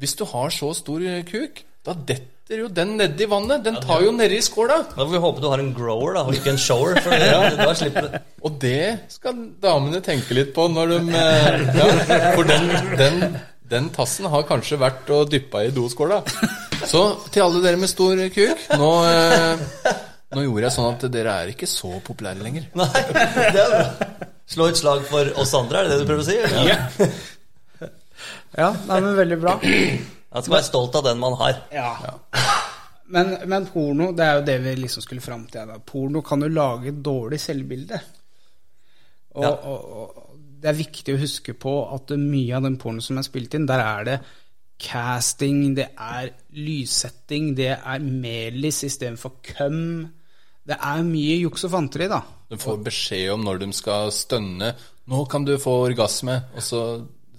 Speaker 3: Hvis du har så stor kuk Da detter jo den nedi vannet Den tar jo nedi i skåla
Speaker 2: Da får vi håpe du har en grower, da, og ikke en shower. [LAUGHS] For det, da slipper du
Speaker 3: Og det skal damene tenke litt på når de eh, ja, For den, den, den tassen har kanskje vært og dyppa i doskåla. Så til alle dere med stor kuk nå, eh, nå gjorde jeg sånn at dere er ikke så populære lenger.
Speaker 2: Nei, det er bra. Slå et slag for oss andre, er det det du prøver å si? eller?
Speaker 1: [LAUGHS] Ja, nei, men veldig bra.
Speaker 2: Man skal være stolt av den man har.
Speaker 1: Ja. Men, men porno, det er jo det vi liksom skulle fram til. Da. Porno kan jo lage et dårlig selvbilde. Og,
Speaker 2: Ja.
Speaker 1: og, og det er viktig å huske på at mye av den porno som er spilt inn, der er det casting, det er lyssetting, det er melis istedenfor køm. Det er mye juks og fanteri, da.
Speaker 3: De får beskjed om når de skal stønne. 'Nå kan du få orgasme.' Og så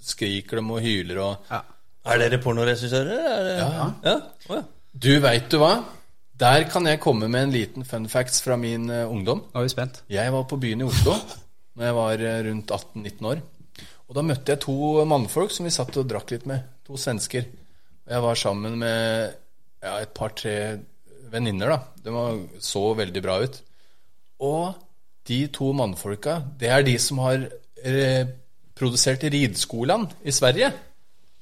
Speaker 3: skriker de og hyler og
Speaker 1: Ja.
Speaker 2: Er dere pornoregissører? Er det-
Speaker 3: Ja.
Speaker 2: ja. Å, ja.
Speaker 3: Du veit du hva? Der kan jeg komme med en liten fun facts fra min eh, ungdom.
Speaker 1: Nå er vi spent.
Speaker 3: Jeg var på byen i Oslo Når jeg var eh, rundt 18-19 år. Og da møtte jeg to mannfolk som vi satt og drakk litt med. To svensker. Og jeg var sammen med ja, et par-tre venninner, da. De var, så veldig bra ut. Og de to mannfolka, det er de som har eh, produsert Ridskolan i Sverige.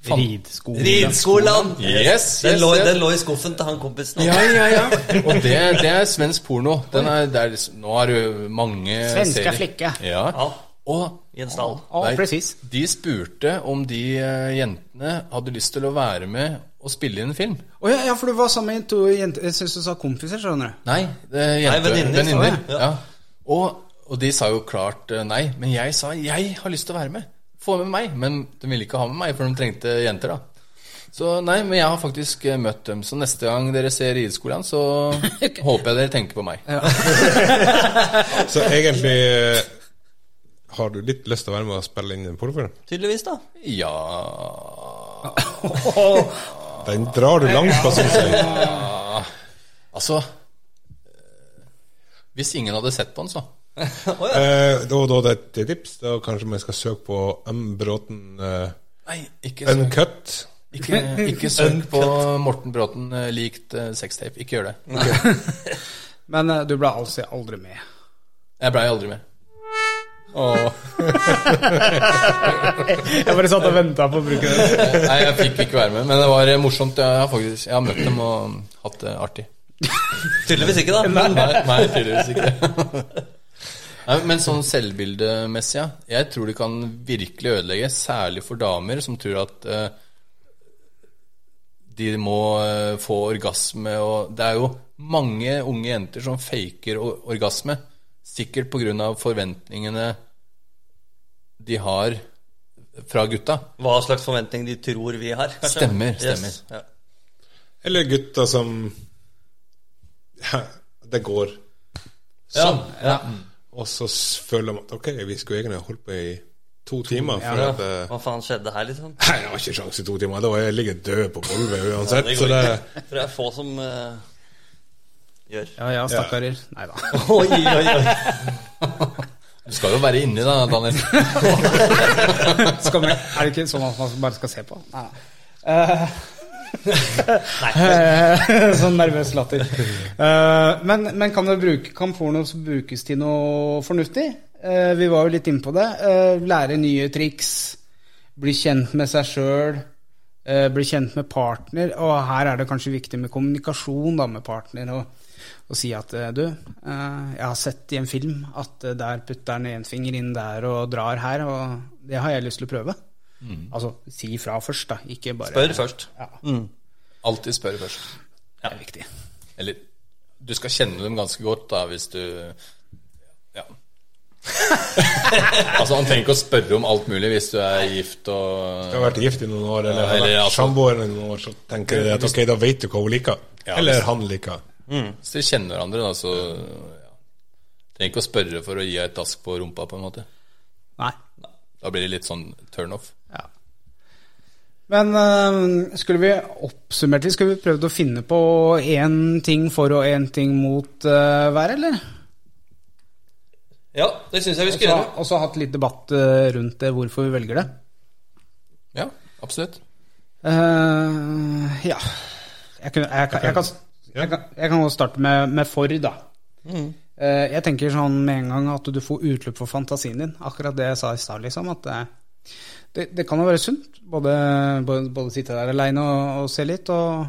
Speaker 3: Fan-
Speaker 1: Ridskolen.
Speaker 2: Ridskolan!
Speaker 3: Yes,
Speaker 2: den,
Speaker 3: yes,
Speaker 2: lå,
Speaker 3: yes.
Speaker 2: den lå i skuffen til han kompisen.
Speaker 3: Ja, ja, ja. [LAUGHS] Og det, det er svensk porno. Den er, det er, nå er det mange
Speaker 1: Svenska
Speaker 3: serier.
Speaker 1: flicka.
Speaker 3: Ja.
Speaker 2: Ja.
Speaker 3: Og
Speaker 2: I en stall.
Speaker 1: Ja,
Speaker 3: Nei.
Speaker 1: presis.
Speaker 3: de spurte om de eh, jentene hadde lyst til å være med og spille inn en film.
Speaker 1: Å ja, ja, for du var sammen med to jenter Jeg syns du sa kompiser, skjønner du.
Speaker 3: Nei, det er jente,
Speaker 2: Nei, venninner.
Speaker 3: venninner.
Speaker 2: Ja.
Speaker 3: Ja. Og, og de sa jo klart eh, nei, men jeg sa jeg har lyst til å være med. Få med meg. Men de ville ikke ha med meg, for de trengte jenter, da. Så nei, men jeg har faktisk eh, møtt dem. Så neste gang dere ser rideskolen, [LAUGHS] så håper jeg dere tenker på meg.
Speaker 4: Så egentlig eh, har du litt lyst til å være med og spille inn en pornofilm?
Speaker 2: Tydeligvis, da.
Speaker 3: Ja
Speaker 4: Den drar du langt på, syns jeg.
Speaker 3: Altså eh, Hvis ingen hadde sett på den, så.
Speaker 4: Eh, da, da det er et tips. Da kanskje man skal søke på M. Bråten eh,
Speaker 3: Nei, ikke søk,
Speaker 4: Uncut.
Speaker 3: ikke, ikke søk på Morten Bråten eh, likt eh, sextape. Ikke gjør det.
Speaker 1: Men eh, du ble altså aldri med.
Speaker 3: Jeg blei aldri med.
Speaker 1: Jeg bare satt og venta på å bruke det.
Speaker 3: Eh, Nei, jeg fikk ikke være med, men det var eh, morsomt. Jeg har faktisk jeg har møtt dem og hatt det artig.
Speaker 2: Tydeligvis ikke, da.
Speaker 3: Nei,
Speaker 2: [LAUGHS]
Speaker 3: nei tydeligvis ikke. Nei, men sånn selvbildemessig, ja. Jeg tror det kan virkelig ødelegge, særlig for damer som tror at eh, de må eh, få orgasme og Det er jo mange unge jenter som faker o- orgasme, sikkert pga. forventningene de har fra gutta.
Speaker 2: Hva slags forventning de tror vi har, kanskje.
Speaker 3: Stemmer, stemmer.
Speaker 2: Yes, ja.
Speaker 4: Eller gutter som ja, Det går.
Speaker 2: Sånn. Ja,
Speaker 4: Og så s- føler man at ok, vi skulle egentlig holdt på i to timer. For
Speaker 2: ja.
Speaker 4: at, eh, [LAUGHS]
Speaker 2: Hva faen skjedde her, liksom?
Speaker 4: Nei, jeg har ikke sjans i to timer. Da jeg ligger jeg død på gulvet uansett.
Speaker 2: Det
Speaker 4: så
Speaker 2: går
Speaker 4: det,
Speaker 2: ikke. For det er få som eh, gjør.
Speaker 1: Ja ja, stakkarer. Nei da.
Speaker 2: Oi, oi, oi.
Speaker 3: [LAUGHS] Du skal jo være inni, da, Daniel.
Speaker 1: [LAUGHS] Skal vi- er det ikke sånn at man bare skal se på? Eh, Nei. nei.
Speaker 2: Nei.
Speaker 1: Eh, [LAUGHS] sånn nervøs latter. Eh, men men kan, det bruke, kan porno også brukes til noe fornuftig? Eh, vi var jo litt inne på det. Eh, lære nye triks. Bli kjent med seg sjøl. Eh, bli kjent med partner. Og her er det kanskje viktig med kommunikasjon da, med partner. Og, og si at eh, du, eh, jeg har sett i en film at eh, der putter han en finger inn der og drar her, og det har jeg lyst til å prøve. Altså si ifra først, da. Ikke bare
Speaker 2: Mm. Spør Mm. først.
Speaker 1: Ja,
Speaker 3: Alltid spør først.
Speaker 1: det er viktig.
Speaker 3: Eller du skal kjenne dem ganske godt, da, hvis du Ja. [LAUGHS] altså, han trenger ikke å spørre om alt mulig hvis du er gift og
Speaker 4: jeg har vært gift i noen år, eller,
Speaker 3: Ja, eller
Speaker 4: har vært
Speaker 3: altså-
Speaker 4: samboer i noen år, så tenker jeg at ok, da vet du hva hun liker.
Speaker 3: Ja,
Speaker 4: eller
Speaker 3: hvis-
Speaker 4: han liker.
Speaker 3: Hvis dere kjenner hverandre, da, så ja. Trenger ikke å spørre for å gi deg et dask på rumpa, på en måte.
Speaker 1: Nei.
Speaker 3: Da blir det litt sånn turnoff.
Speaker 1: Ja. Men eh, skulle vi oppsummert litt, skulle vi prøvd å finne på én ting for og én ting mot eh, hver, eller?
Speaker 2: Ja, det syns jeg vi
Speaker 1: Og
Speaker 2: skal
Speaker 1: så-
Speaker 3: Altså,
Speaker 2: gjøre.
Speaker 1: Og så hatt litt debatt eh, rundt det, hvorfor vi velger det.
Speaker 3: Ja, absolutt.
Speaker 1: Eh, ja. Jeg, kunne, jeg, kan, jeg, kan, jeg, kan, jeg kan godt starte med, med for, da. Eh, jeg tenker sånn med en gang at du får utløp for fantasien din. Akkurat det jeg sa i stad, liksom. At det, det, det kan jo være sunt. Både, både, både sitte der aleine og, og se litt, og,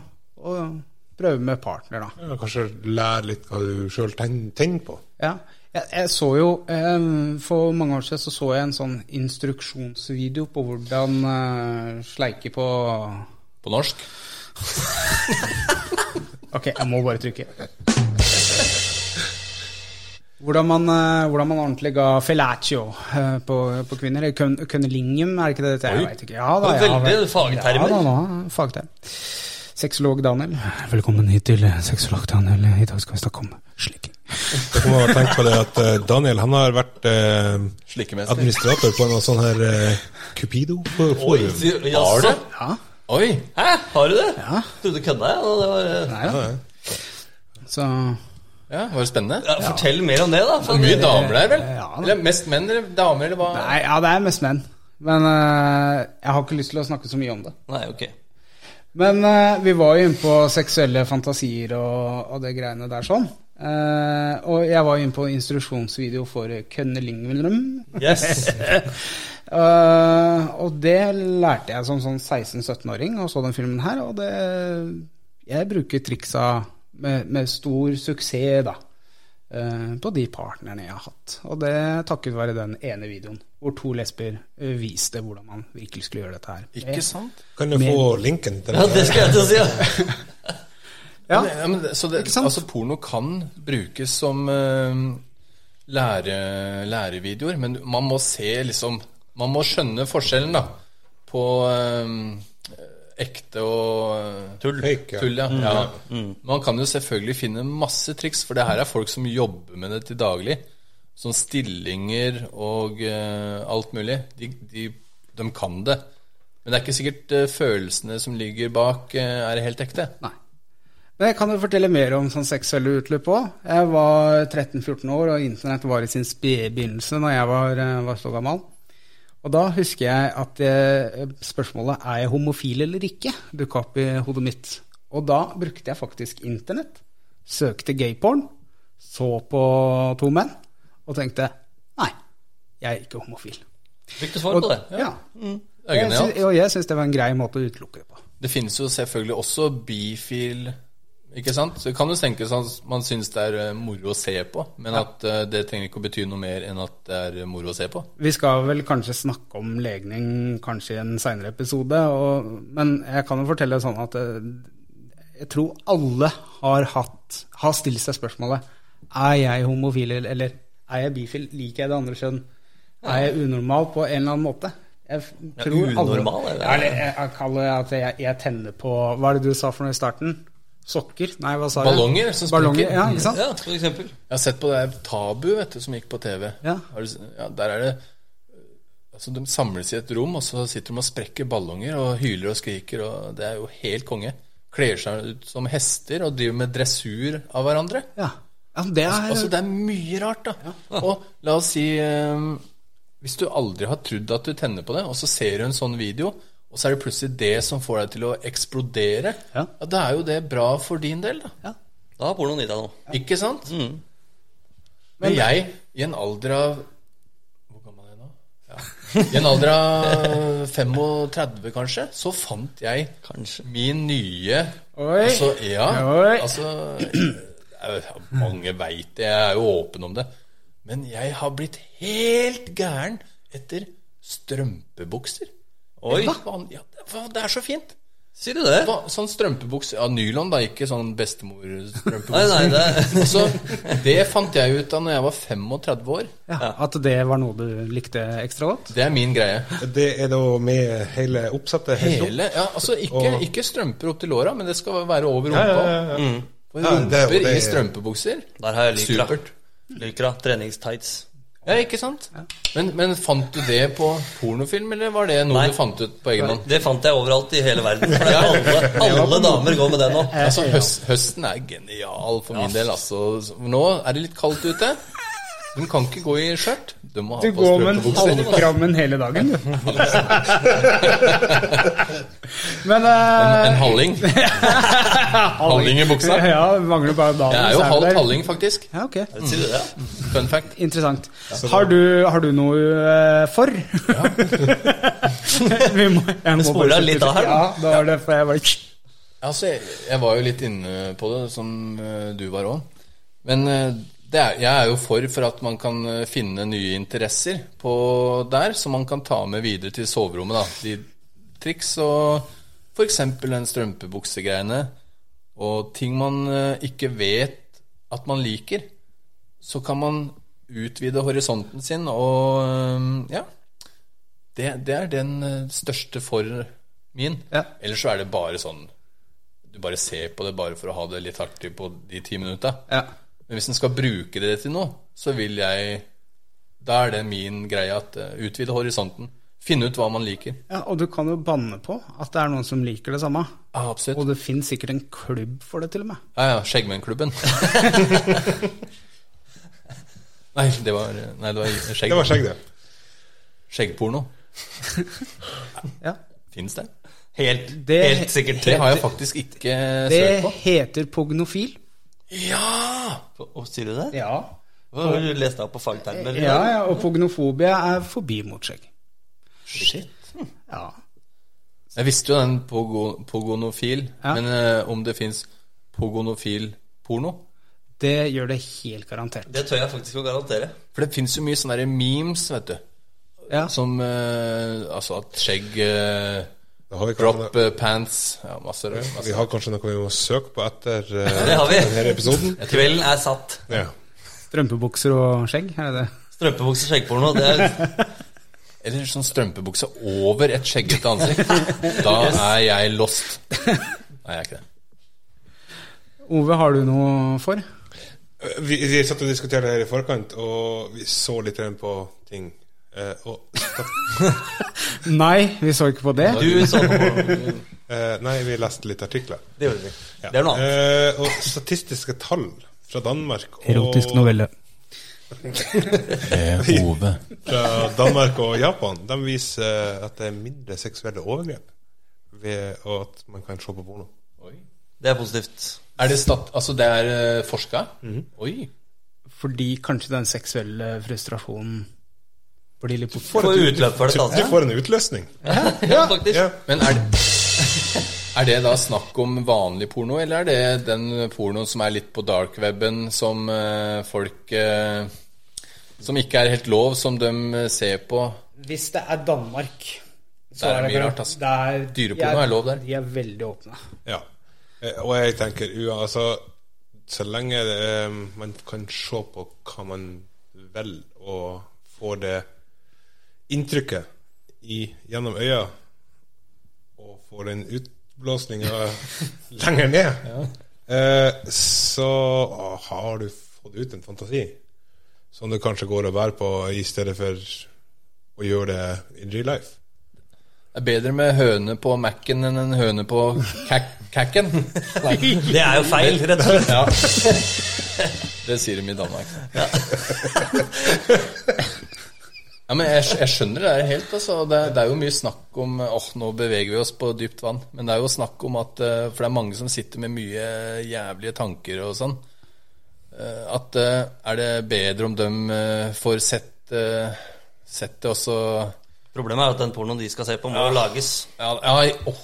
Speaker 1: og prøve med partner, da.
Speaker 4: Ja, kanskje lære litt hva du sjøl tenner på.
Speaker 1: Ja. Jeg, jeg så jo eh, For mange år siden så, så jeg en sånn instruksjonsvideo på hvordan eh, sleike på
Speaker 3: På norsk.
Speaker 1: Ok, jeg må bare trykke. Hvordan man, eh, hvordan man ordentlig ga fellatio eh, på, på kvinner. Kun, kunnelingum, er det ikke det? det heter?
Speaker 3: Oi.
Speaker 1: Jeg vet ikke. Ja, da,
Speaker 2: Det
Speaker 1: jeg
Speaker 2: var
Speaker 1: har vært-
Speaker 2: veldig fagtermer.
Speaker 1: Ja, da, da, fagterm. Sexolog Daniel. Velkommen hit til eh, Sexolog Daniel. I dag skal vi snakke om slikking.
Speaker 4: Dere må ha tenkt på det at eh, Daniel han har vært eh,
Speaker 3: Slikkemester.
Speaker 4: administrator på noe sånn her eh,
Speaker 2: Oi,
Speaker 4: Cupido-forum.
Speaker 2: sier-
Speaker 3: Har du?
Speaker 2: jaså?
Speaker 1: Ja,
Speaker 3: Oi!
Speaker 2: Hæ, har du det? Ja. Trodde du kødda, jeg. og det var, eh,
Speaker 1: nei da. Så
Speaker 3: Ja, Var det spennende?
Speaker 2: Ja, fortell mer om det, da. For
Speaker 3: Mye damer der, vel?
Speaker 1: Ja, da.
Speaker 3: Eller mest menn eller damer, eller hva?
Speaker 1: Nei, ja, det er mest menn. Men eh, jeg har ikke lyst til å snakke så mye om det.
Speaker 2: Nei, ok.
Speaker 1: Men eh, vi var jo inne på seksuelle fantasier og, og det greiene der sånn. Eh, og jeg var inne på instruksjonsvideo for Kønne Lingvildrum.
Speaker 2: Yes.
Speaker 1: Eh, og det lærte jeg som sånn 16-17-åring og så den filmen her, og det Jeg bruker triksa med, med stor suksess, da. eh, På de partnerne jeg har hatt. Og det takket være den ene videoen hvor to lesber eh, viste hvordan man virkelig skulle gjøre dette her.
Speaker 3: Ikke sant?
Speaker 4: Kan du få linken til
Speaker 2: Ja,
Speaker 4: den?
Speaker 2: det skal jeg til å si, ja.
Speaker 1: Ja.
Speaker 3: Men, ja, men, det- så det,
Speaker 1: sant?
Speaker 3: Altså, porno kan brukes som eh, lære, lærevideoer, men man må se liksom Man må skjønne forskjellen, da, på eh, ekte og eh,
Speaker 2: Tull.
Speaker 4: Fake, ja.
Speaker 3: Tull, ja. ja. Man kan jo selvfølgelig finne masse triks, for det her er folk som jobber med det til daglig. Sånn stillinger og eh, alt mulig. De, de, de kan det. Men det er ikke sikkert eh, følelsene som ligger bak, eh, er helt ekte.
Speaker 1: Nei. Men jeg kan jo fortelle mer om sånn seksuelle utløp òg. Jeg var 13-14 år, og internett var i sin spede begynnelse når jeg var, eh, var så gammel. Og da husker jeg at eh, spørsmålet 'er jeg homofil eller ikke?' dukka opp i hodet mitt. Og da brukte jeg faktisk internett. Søkte gayporn, så på to menn, og tenkte 'nei, jeg er ikke homofil'.
Speaker 2: Fikk du svar på det?
Speaker 1: ja.
Speaker 3: Det er
Speaker 1: Jeg
Speaker 3: genialt.
Speaker 1: sy- og jeg syns det var en grei måte å utelukke det på.
Speaker 3: Det finnes jo selvfølgelig også bifil Ikke sant? Så det kan jo tenkes at man syns det er eh, moro å se på, men at eh, det trenger ikke å bety noe mer enn at det er eh, moro å se på.
Speaker 1: Vi skal vel kanskje snakke om legning kanskje i en seinere episode, og, men jeg kan jo fortelle sånn at eh, jeg tror alle har, hatt, har stilt seg spørsmålet Er jeg homofil, eller- eller er jeg bifil? Liker jeg det andre kjønn? Er jeg unormal på en eller annen måte? Jeg f-
Speaker 2: Ja,
Speaker 1: tror
Speaker 2: unormal,
Speaker 1: alle,
Speaker 2: eller?
Speaker 1: Ja, eller eh, jeg, jeg kaller det at jeg, jeg tenner på Hva er det du sa for noe i starten? Sokker? Nei, hva sa
Speaker 3: Ballonger som
Speaker 1: jeg? Ballonger?
Speaker 3: sprekker.
Speaker 1: Ja, ikke sant?
Speaker 2: Ja, for eksempel.
Speaker 3: Jeg har sett på det her Tabu, vet du, som gikk på TV.
Speaker 1: Ja.
Speaker 3: Har du, s- ja der er det Altså, De samles i et rom, og så sitter de og sprekker ballonger og hyler og skriker. og Det er jo helt konge. Kler seg ut som hester og driver med dressur av hverandre.
Speaker 1: Ja. Ja, det er,
Speaker 3: Altså, det er mye rart, da. [LAUGHS] Og la oss si eh, Hvis du aldri har trodd at du tenner på det, og så ser du en sånn video, og så er det plutselig det som får deg til å eksplodere,
Speaker 1: Ja.
Speaker 3: da er jo det bra for din del, da.
Speaker 1: ja.
Speaker 2: Da har pornoen gitt deg noe.
Speaker 3: Ikke sant?
Speaker 1: Mm.
Speaker 3: Men jeg, i en alder av Hvor gammel er jeg nå? Ja. I en alder
Speaker 1: [LAUGHS]
Speaker 3: av 35, kanskje, så fant jeg
Speaker 2: Kanskje.
Speaker 3: min nye
Speaker 1: Oi.
Speaker 3: Altså, ja.
Speaker 1: Oi.
Speaker 3: Altså, jeg- mange veit det, jeg er jo åpen om det. Men jeg har blitt helt gæren etter strømpebukser.
Speaker 2: Oi.
Speaker 3: Hva faen? Ja, hva- det er så fint.
Speaker 2: Sier du det?
Speaker 3: Hva, sånn strømpebukse av nylon, da, ikke sånn bestemor-strømpebukse.
Speaker 2: Nei, nei,
Speaker 3: [LAUGHS]
Speaker 2: det
Speaker 3: Så altså, det fant jeg ut av når jeg var 35 år.
Speaker 1: Ja, At det var noe du likte ekstra godt?
Speaker 3: Det er min greie.
Speaker 4: Det er da med hele oppsettet helt opp?
Speaker 3: Hele, ja, altså ikke,
Speaker 4: Og-
Speaker 3: ikke strømper opp til låra, men det skal være over
Speaker 4: Ja,
Speaker 3: rumpa.
Speaker 4: ja, ja, ja.
Speaker 3: Og
Speaker 4: Ja, det er jo det-
Speaker 3: Rumper i strømpebukser.
Speaker 2: Der har jeg lykra.
Speaker 3: Supert.
Speaker 2: Lykra, treningstights.
Speaker 3: Ja, ikke sant? Men, men fant du det på pornofilm, eller var det noe
Speaker 2: Nei.
Speaker 3: du fant ut på egen hånd?
Speaker 2: Det fant jeg overalt i hele verden. For det er alle, alle damer går med det nå.
Speaker 1: Eh,
Speaker 3: Altså, høst, høsten er genial for min del, altså. Så Nå er det litt kaldt ute. De kan ikke gå i skjørt. De må ha
Speaker 1: Du
Speaker 3: på
Speaker 1: går med en
Speaker 3: strømpebukser.
Speaker 1: halvkrammen hele dagen, du. Men
Speaker 3: En,
Speaker 1: eh,
Speaker 3: en halling. halling i buksa.
Speaker 1: [LAUGHS] Ja, mangler bare damen.
Speaker 3: Jeg er
Speaker 1: så
Speaker 3: jo
Speaker 1: du
Speaker 3: halvt
Speaker 1: der.
Speaker 3: halling, faktisk.
Speaker 1: Ja, ok.
Speaker 2: Sier du det?
Speaker 3: Fun fact.
Speaker 1: Interessant. Har du, har du noe eh, for? Ja. [LAUGHS] Vi må, jeg må
Speaker 2: spoler
Speaker 1: bare-
Speaker 2: litt av her, da.
Speaker 1: Ja, da var det for jeg bare
Speaker 3: Altså, jeg, jeg var jo litt inne på det, som eh, du var òg. Men eh, det er, jeg er jo for for at man kan eh, finne nye interesser på der, som man kan ta med videre til soverommet. da. De triks og f.eks. den strømpebuksegreiene. Og ting man eh, ikke vet at man liker, så kan man utvide horisonten sin, og eh, ja. Det, det er den eh, største for min.
Speaker 1: Ja.
Speaker 3: Ellers så er det bare sånn du bare ser på det bare for å ha det litt artig på de ti minutta.
Speaker 1: ja.
Speaker 3: Men hvis en skal bruke det til noe, så vil jeg Da er det min greie at eh, utvide horisonten. finne ut hva man liker.
Speaker 1: Ja, og du kan jo banne på at det er noen som liker det samme.
Speaker 3: Ja, absolutt.
Speaker 1: Og det finnes sikkert en klubb for det, til og med.
Speaker 3: Ja, ja, [LAUGHS] Skjeggmennklubben. nei, det var, nei, det var skjegg.
Speaker 4: Det var skjegg, det.
Speaker 3: Skjeggporno.
Speaker 1: Ja.
Speaker 3: Fins det?
Speaker 2: Helt,
Speaker 1: Det-
Speaker 2: helt sikkert.
Speaker 3: Det har jeg faktisk
Speaker 1: Det
Speaker 3: ikke søkt på.
Speaker 1: heter pognofil.
Speaker 3: Ja!
Speaker 2: Og Sier du det?
Speaker 1: Ja.
Speaker 2: Hva har du lest av på fagtermer?
Speaker 1: ja, ja og pognofobia er forbi mot skjegg.
Speaker 3: Shit.
Speaker 1: Ja.
Speaker 3: Jeg visste jo den pogo- pogonofil,
Speaker 1: Ja.
Speaker 3: men eh, om det fins pogonofil porno?
Speaker 1: Det gjør det helt garantert.
Speaker 2: Det tør jeg faktisk å garantere.
Speaker 3: For det fins jo mye sånne der memes, vet du.
Speaker 1: Ja.
Speaker 3: Som eh, Altså at skjegg eh,
Speaker 4: Da har vi kanskje,
Speaker 3: Drop eh, pants Ja, masse rør.
Speaker 4: vi
Speaker 3: Masse.
Speaker 4: har kanskje noe vi må søke på etter
Speaker 2: [LAUGHS]
Speaker 4: eh,
Speaker 2: Det har vi.
Speaker 4: denne episoden.
Speaker 2: Kvelden er satt.
Speaker 4: Ja.
Speaker 1: Strømpebukser og skjegg, er det det?
Speaker 2: Strømpebukse, skjeggporno. Det er
Speaker 3: Eller sånn strømpebukse over et skjeggete
Speaker 2: [LAUGHS]
Speaker 3: ansikt. Da er jeg lost. Nei, jeg er ikke det.
Speaker 1: Ove, har du noe for?
Speaker 4: Vi, vi satt og diskuterte det her i forkant, og vi så litt grann på ting. Eh, og,
Speaker 1: Nei, vi så ikke på det.
Speaker 2: du
Speaker 3: [LAUGHS]
Speaker 2: så på porno.
Speaker 4: eh, nei, vi leste litt artikler.
Speaker 2: Det gjorde vi.
Speaker 4: Ja.
Speaker 2: Det er noe annet.
Speaker 4: Eh, og statistiske tall fra Danmark og,
Speaker 1: novelle.
Speaker 3: Hove.
Speaker 4: fra Danmark og Japan De viser eh, at det er mindre seksuelle overgrep ved at man kan se på porno.
Speaker 2: Det er positivt.
Speaker 3: Er det stat... Altså, det er eh, forska?
Speaker 2: Mhm.
Speaker 3: Oi.
Speaker 1: Fordi kanskje den seksuelle frustrasjonen blir litt borte.
Speaker 2: Få utløp for det,
Speaker 4: Du, du
Speaker 2: da.
Speaker 4: får en utløsning.
Speaker 2: [LAUGHS] Ja, faktisk.
Speaker 4: Ja.
Speaker 3: Men er det [LAUGHS] er det da snakk om vanlig porno, eller er det den pornoen som er litt på darkweben, som eh, folk eh, Som ikke er helt lov, som de eh, ser på?
Speaker 1: Hvis det er Danmark så
Speaker 3: Der er mye rart, altså.
Speaker 1: det er,
Speaker 3: Dyreporno
Speaker 1: de
Speaker 3: er lov der.
Speaker 1: De er veldig åpne.
Speaker 4: Ja. Eh, Og jeg tenker ua, altså, Så lenge eh, man kan se på hva man vil, og får det inntrykket i, gjennom øya, og får den utblåsninga lenger ned, eh, så har du fått ut en fantasi som du kanskje går og bærer på i stedet for å gjøre det in real life.
Speaker 3: Det er bedre med høne på Mac-en enn en høne på kak- kakken. Nei,
Speaker 2: Det er jo feil, rett og [LAUGHS] slett.
Speaker 3: ja. Det sier de i Danmark. Ja, men jeg, skj- jeg skjønner det der helt. Altså. Det, er- det er jo mye snakk om Åh, nå beveger vi oss på dypt vann. Men det er jo snakk om at eh, For det er mange som sitter med mye jævlige tanker og sånn. Eh, At eh, er det bedre om dem eh, får sett eh, Sett det også
Speaker 2: Problemet er at den pornoen de skal se på, må lages.
Speaker 3: Ja, ja åh,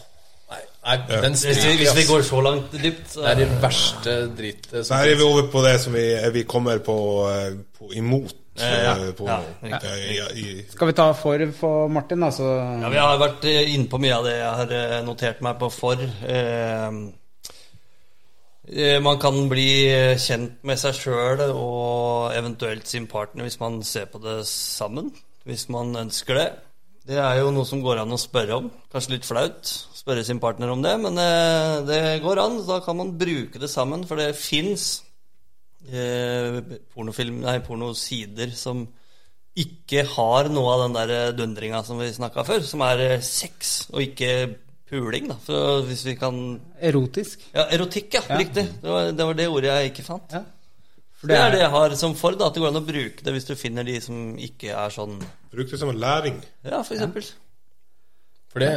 Speaker 3: nei, nei, den
Speaker 2: Hvis vi,
Speaker 3: stryker,
Speaker 2: hvis vi
Speaker 3: ass.
Speaker 2: går så langt dypt, så
Speaker 3: Det er det verste dritet
Speaker 4: Så
Speaker 3: som
Speaker 4: her er vi
Speaker 3: finnes.
Speaker 4: over på det som vi, vi kommer på, eh, på imot. eh,
Speaker 2: ja.
Speaker 4: På,
Speaker 2: Ja,
Speaker 4: eh, ja, i,
Speaker 1: Skal vi ta for for Martin, da? Så
Speaker 2: Ja, vi har vært eh, inne på mye av det jeg har eh, notert meg på for. Eh, eh, man kan bli eh, kjent med seg sjøl og eventuelt sin partner hvis man ser på det sammen. Hvis man ønsker det. Det er jo noe som går an å spørre om. Kanskje litt flaut å spørre sin partner om det, men eh, det går an. Da kan man bruke det sammen, for det fins eh, pornofilm, nei, pornosider som ikke har noe av den der eh, dundringa som vi snakka før, som er eh, sex og ikke puling, da. For hvis vi kan
Speaker 1: Erotisk.
Speaker 2: Ja, erotikk, ja.
Speaker 1: Ja.
Speaker 2: Riktig. Det var, det var det ordet jeg ikke fant.
Speaker 1: Ja.
Speaker 2: For det er det jeg har som for, da, at det går an å bruke det hvis du finner de som ikke er sånn
Speaker 4: bruk det som en læring.
Speaker 2: Ja, for eksempel.
Speaker 3: For det,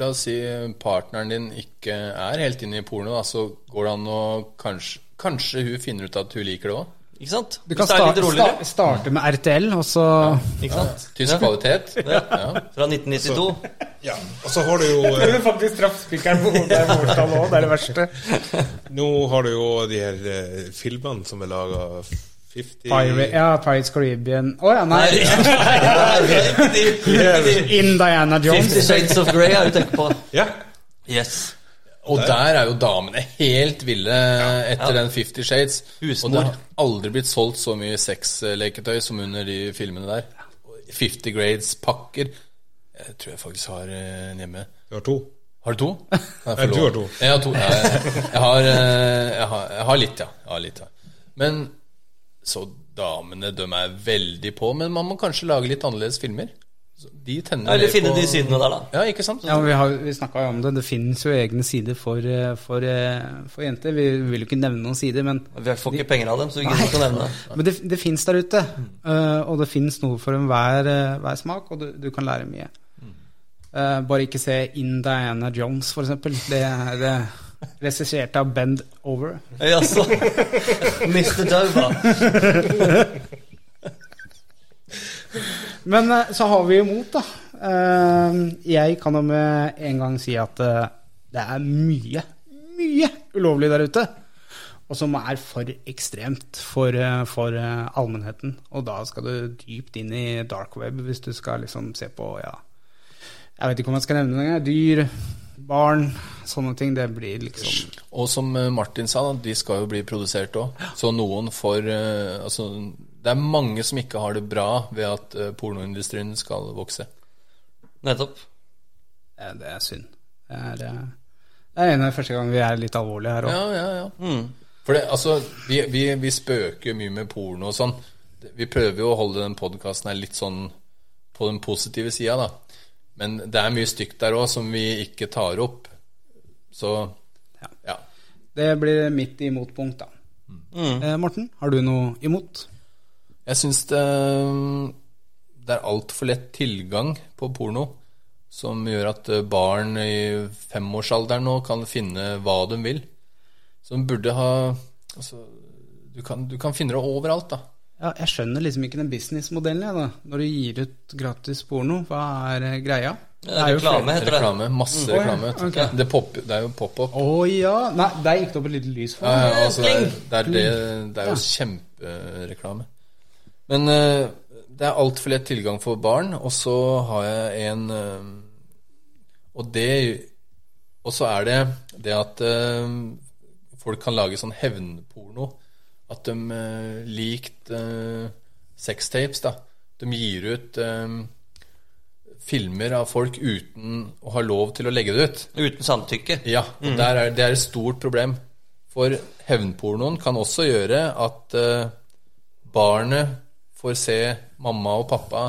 Speaker 3: la oss si partneren din ikke er helt inne i porno, da, så går det an å kanskje, kanskje hun finner ut at hun liker det òg.
Speaker 2: Ikke sant?
Speaker 1: Du kan
Speaker 2: Hvis det er litt
Speaker 1: starte,
Speaker 2: roligere.
Speaker 1: sta- starte med RTL, og så
Speaker 2: Ikke sant?
Speaker 3: Tysk
Speaker 2: [LAUGHS]
Speaker 3: kvalitet. Ja.
Speaker 2: Fra 1992.
Speaker 4: Ja. Og så har du jo eh,
Speaker 1: faktisk traff spikeren på hodet òg, det er det verste.
Speaker 4: Nå har du jo de her eh, filmene som er laga 50
Speaker 1: Pirate, ja, Pirates Caribbean Å ja,
Speaker 2: Nei,
Speaker 1: nei.
Speaker 2: ikke de, ikke de.
Speaker 1: [LAUGHS] In Diana Jones.
Speaker 2: Fifty Shades of Grey er det du tenker på.
Speaker 4: Ja.
Speaker 2: Yes.
Speaker 3: Og der er jo damene helt ville etter
Speaker 2: Ja.
Speaker 3: den Fifty Shades.
Speaker 2: Husmor.
Speaker 3: Og det har aldri blitt solgt så mye sexleketøy som under de filmene der. Fifty Grades-pakker. Jeg tror jeg faktisk har eh, en hjemme.
Speaker 4: Du har to.
Speaker 3: Har du to? [LAUGHS] Jeg
Speaker 4: Nei, du har to.
Speaker 3: Jeg har to. Jeg, jeg, har, eh, jeg, har, jeg har litt, ja. Jeg har litt, ja. Men så damene, de er veldig på. Men man må kanskje lage litt annerledes filmer. De tenner
Speaker 2: Eller
Speaker 3: mer
Speaker 2: finne
Speaker 3: på-
Speaker 2: de sidene der, da.
Speaker 3: Ja, ikke sant?
Speaker 1: Ja, men Vi, har- vi snakka jo om det. Det finnes jo egne sider for, eh, for, eh, for jenter. Vi vil jo ikke nevne noen sider, men,
Speaker 2: Vi får ikke penger av dem, så vi gidder ikke å nevne det.
Speaker 1: men det, det fins der ute. Eh, og det fins noe for enhver eh, hver smak, og du, du kan lære mye. Eh, bare ikke se Indiana Jones, for eksempel. Det er eh, regissert av Bend Over.
Speaker 2: Jaså.
Speaker 3: [LAUGHS]
Speaker 2: Mr. Dove, da.
Speaker 1: Men eh, så har vi jo mot, da. Eh, Jeg kan jo med en gang si at eh, det er mye, mye ulovlig der ute. Og som er for ekstremt for, eh, for eh, allmennheten. Og da skal du dypt inn i dark web hvis du skal liksom se på ja, Jeg vet ikke om jeg skal nevne det engang. Dyr, barn, sånne ting. Det blir liksom
Speaker 3: Og som eh, Martin sa, da, de skal jo bli produsert òg. Så noen får eh, Altså, det er mange som ikke har det bra ved at eh, pornoindustrien skal vokse.
Speaker 2: Nettopp.
Speaker 1: eh, Det er synd. Det er, eh, det er en av de første gangene vi er litt alvorlige her òg.
Speaker 3: Ja, ja, ja. For det, altså, vi, vi, vi spøker jo mye med porno og sånn. Vi prøver jo å holde den podkasten her litt sånn på den positive sida, da. Men det er mye stygt der òg som vi ikke tar opp. Så
Speaker 1: Ja.
Speaker 3: ja.
Speaker 1: Det blir mitt imotpunkt, da.
Speaker 2: Mm.
Speaker 1: Eh, Morten, har du noe imot?
Speaker 3: Jeg syns det, mm, det er altfor lett tilgang på porno som gjør at eh, barn i femårsalderen nå kan finne hva de vil. Så de burde ha altså, du, kan, du kan finne det overalt, da.
Speaker 1: Ja, jeg skjønner liksom ikke den businessmodellen, jeg, da. Når du gir ut gratis porno, hva er eh, greia?
Speaker 2: Det er reklame, heter det.
Speaker 3: Reklame, Masse
Speaker 1: ja,
Speaker 3: reklame.
Speaker 1: ok.
Speaker 3: Det, pop, det er jo pop-up.
Speaker 1: Å ja! Nei, der gikk det opp et lite lys for
Speaker 3: Ja,
Speaker 1: meg.
Speaker 3: ja, altså, det, er, det, er det, det er jo kjempereklame. Men eh, det er altfor lett tilgang for barn, og så har jeg en eh, Og det Og så er det det at eh, folk kan lage sånn hevnporno. At de eh, likt eh, sextapes, da. De gir ut eh, filmer av folk uten å ha lov til å legge det ut.
Speaker 2: Uten samtykke.
Speaker 3: Ja, og
Speaker 1: Mm.
Speaker 3: der er, det er et stort problem. For hevnpornoen kan også gjøre at eh, barnet får se mamma og pappa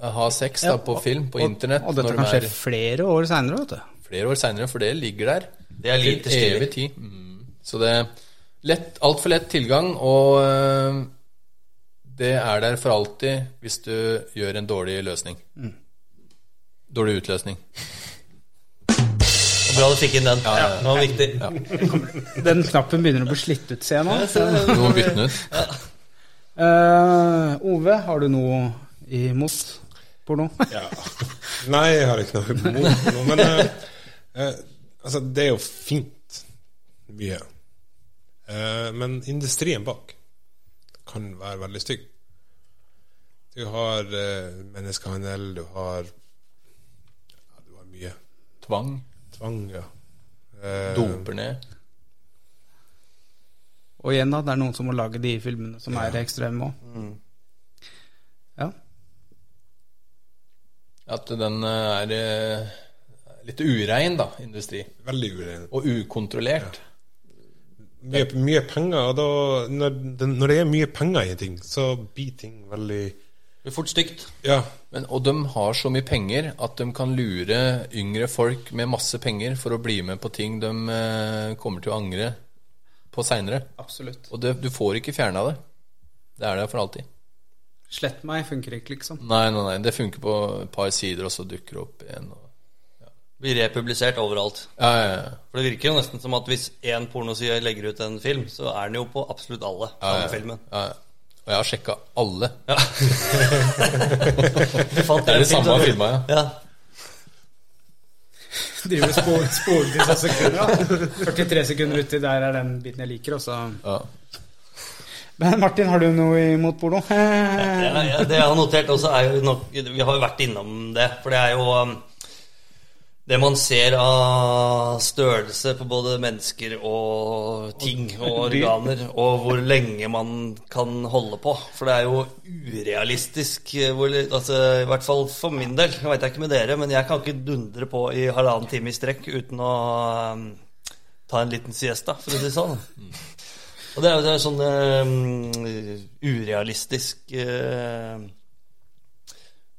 Speaker 3: eh, ha sex da, på film, på internett,
Speaker 1: Og, og dette
Speaker 3: når
Speaker 1: kan
Speaker 3: de
Speaker 1: skje
Speaker 3: er
Speaker 1: flere år seinere, vet du.
Speaker 3: flere år seinere, for det ligger der.
Speaker 2: Det er lite
Speaker 3: til
Speaker 2: stilig.
Speaker 3: evig tid. Mm. Så det er lett, altfor lett tilgang, og eh, det er der for alltid hvis du gjør en dårlig løsning.
Speaker 1: Mm.
Speaker 3: Dårlig utløsning.
Speaker 2: Bra du fikk inn den. Den var viktig.
Speaker 1: Den knappen begynner å bli slitt ut, ser jeg nå.
Speaker 3: Du må bytte den ut.
Speaker 1: Eh, Ove, har du noe imot porno?
Speaker 4: Ja. Nei, jeg har ikke noe imot det nå, men eh, eh, altså, det er jo fint mye. Eh, men industrien bak kan være veldig stygg. Du har eh, menneskehandel, du har ja, Du har mye
Speaker 3: Tvang.
Speaker 4: tvang, ja. Eh,
Speaker 3: Doper ned.
Speaker 1: Og igjen, da, det er noen som må lage de filmene som er ekstreme òg. Ja.
Speaker 3: At den er eh, litt urein, da, industri.
Speaker 4: Veldig urein.
Speaker 3: Og ukontrollert.
Speaker 4: Mye, mye penger, og da når, det- når det er mye penger i en ting, så blir ting veldig
Speaker 2: Det blir fort stygt.
Speaker 4: Ja.
Speaker 3: Men, og de har så mye penger at de kan lure yngre folk med masse penger for å bli med på ting de eh, kommer til å angre på seinere.
Speaker 1: Absolutt.
Speaker 3: Og det, du får ikke fjerna det. Det er der for alltid.
Speaker 1: Slett meg funker ikke, liksom.
Speaker 3: Nei, nei, nei, det funker på et par sider, og så dukker det opp igjen. Og...
Speaker 2: Blir republisert overalt.
Speaker 3: Ja, ja, ja.
Speaker 2: For det virker jo nesten som at hvis én pornoside legger ut en film, så er den jo på absolutt alle. Samme filmen.
Speaker 3: ja, ja. Og jeg har sjekka alle.
Speaker 2: [LAUGHS] Ja. Du fant
Speaker 3: Det er
Speaker 2: en
Speaker 3: det
Speaker 2: film,
Speaker 3: samme
Speaker 2: du.
Speaker 3: filma, ja.
Speaker 2: Ja.
Speaker 1: Driver spor, spor til seg sekunder, da. 43 sekunder uti, der er den biten jeg liker, også.
Speaker 3: ja.
Speaker 1: Men Martin, har du noe imot porno?
Speaker 2: Ja, ja, det jeg har notert også, er jo nok Vi har jo vært innom det, for det er jo um, det man ser av størrelse på både mennesker og ting og organer, og hvor lenge man kan holde på. For det er jo urealistisk. eh, Hvor, altså, I hvert fall for min del. Jeg veit ikke med dere, men jeg kan ikke dundre på i halvannen time i strekk uten å um, ta en liten siesta, for å si det sånn. Og det er jo det er sånn eh, urealistisk eh,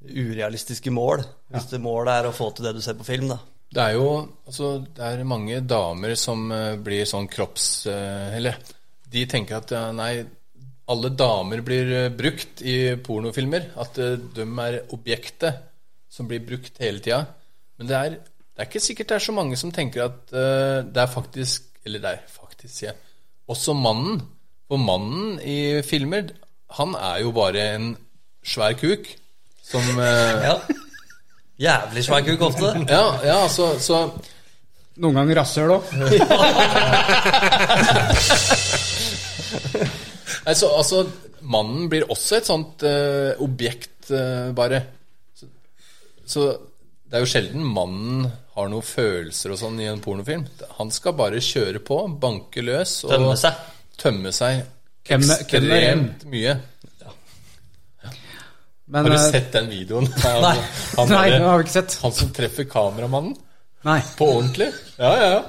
Speaker 2: urealistiske mål. Hvis det målet er å få til det du ser på film, da.
Speaker 3: Det er jo altså, det er mange damer som eh, blir sånn kropps... eh, Eller de tenker at eh, nei, alle damer blir eh, brukt i pornofilmer. At eh, de er objektet som blir brukt hele tida. Men det er, det er ikke sikkert det er så mange som tenker at eh, det er faktisk Eller det er faktisk, sier jeg. Også mannen. For mannen i filmer, han er jo bare en svær kuk som eh,
Speaker 2: Ja. Jævlig svær kuk ofte.
Speaker 3: ja, ja, så, så
Speaker 1: Noen ganger rasshøl òg.
Speaker 3: Nei, så altså, mannen blir også et sånt eh, objekt, eh, bare. Så, så det er jo sjelden mannen har noen følelser og sånn i en pornofilm. Han skal bare kjøre på, banke løs og
Speaker 2: Tømme seg.
Speaker 3: Tømme seg
Speaker 1: Hvem er- hvem er en?
Speaker 3: ekstremt mye.
Speaker 1: Men
Speaker 3: Har du
Speaker 1: eh,
Speaker 3: sett den
Speaker 1: [LAUGHS]
Speaker 3: videoen? Han,
Speaker 2: Nei.
Speaker 3: han,
Speaker 1: Nei,
Speaker 3: bare-
Speaker 1: det har vi ikke sett.
Speaker 3: han som treffer kameramannen
Speaker 1: Nei.
Speaker 3: på ordentlig? Ja, ja, ja.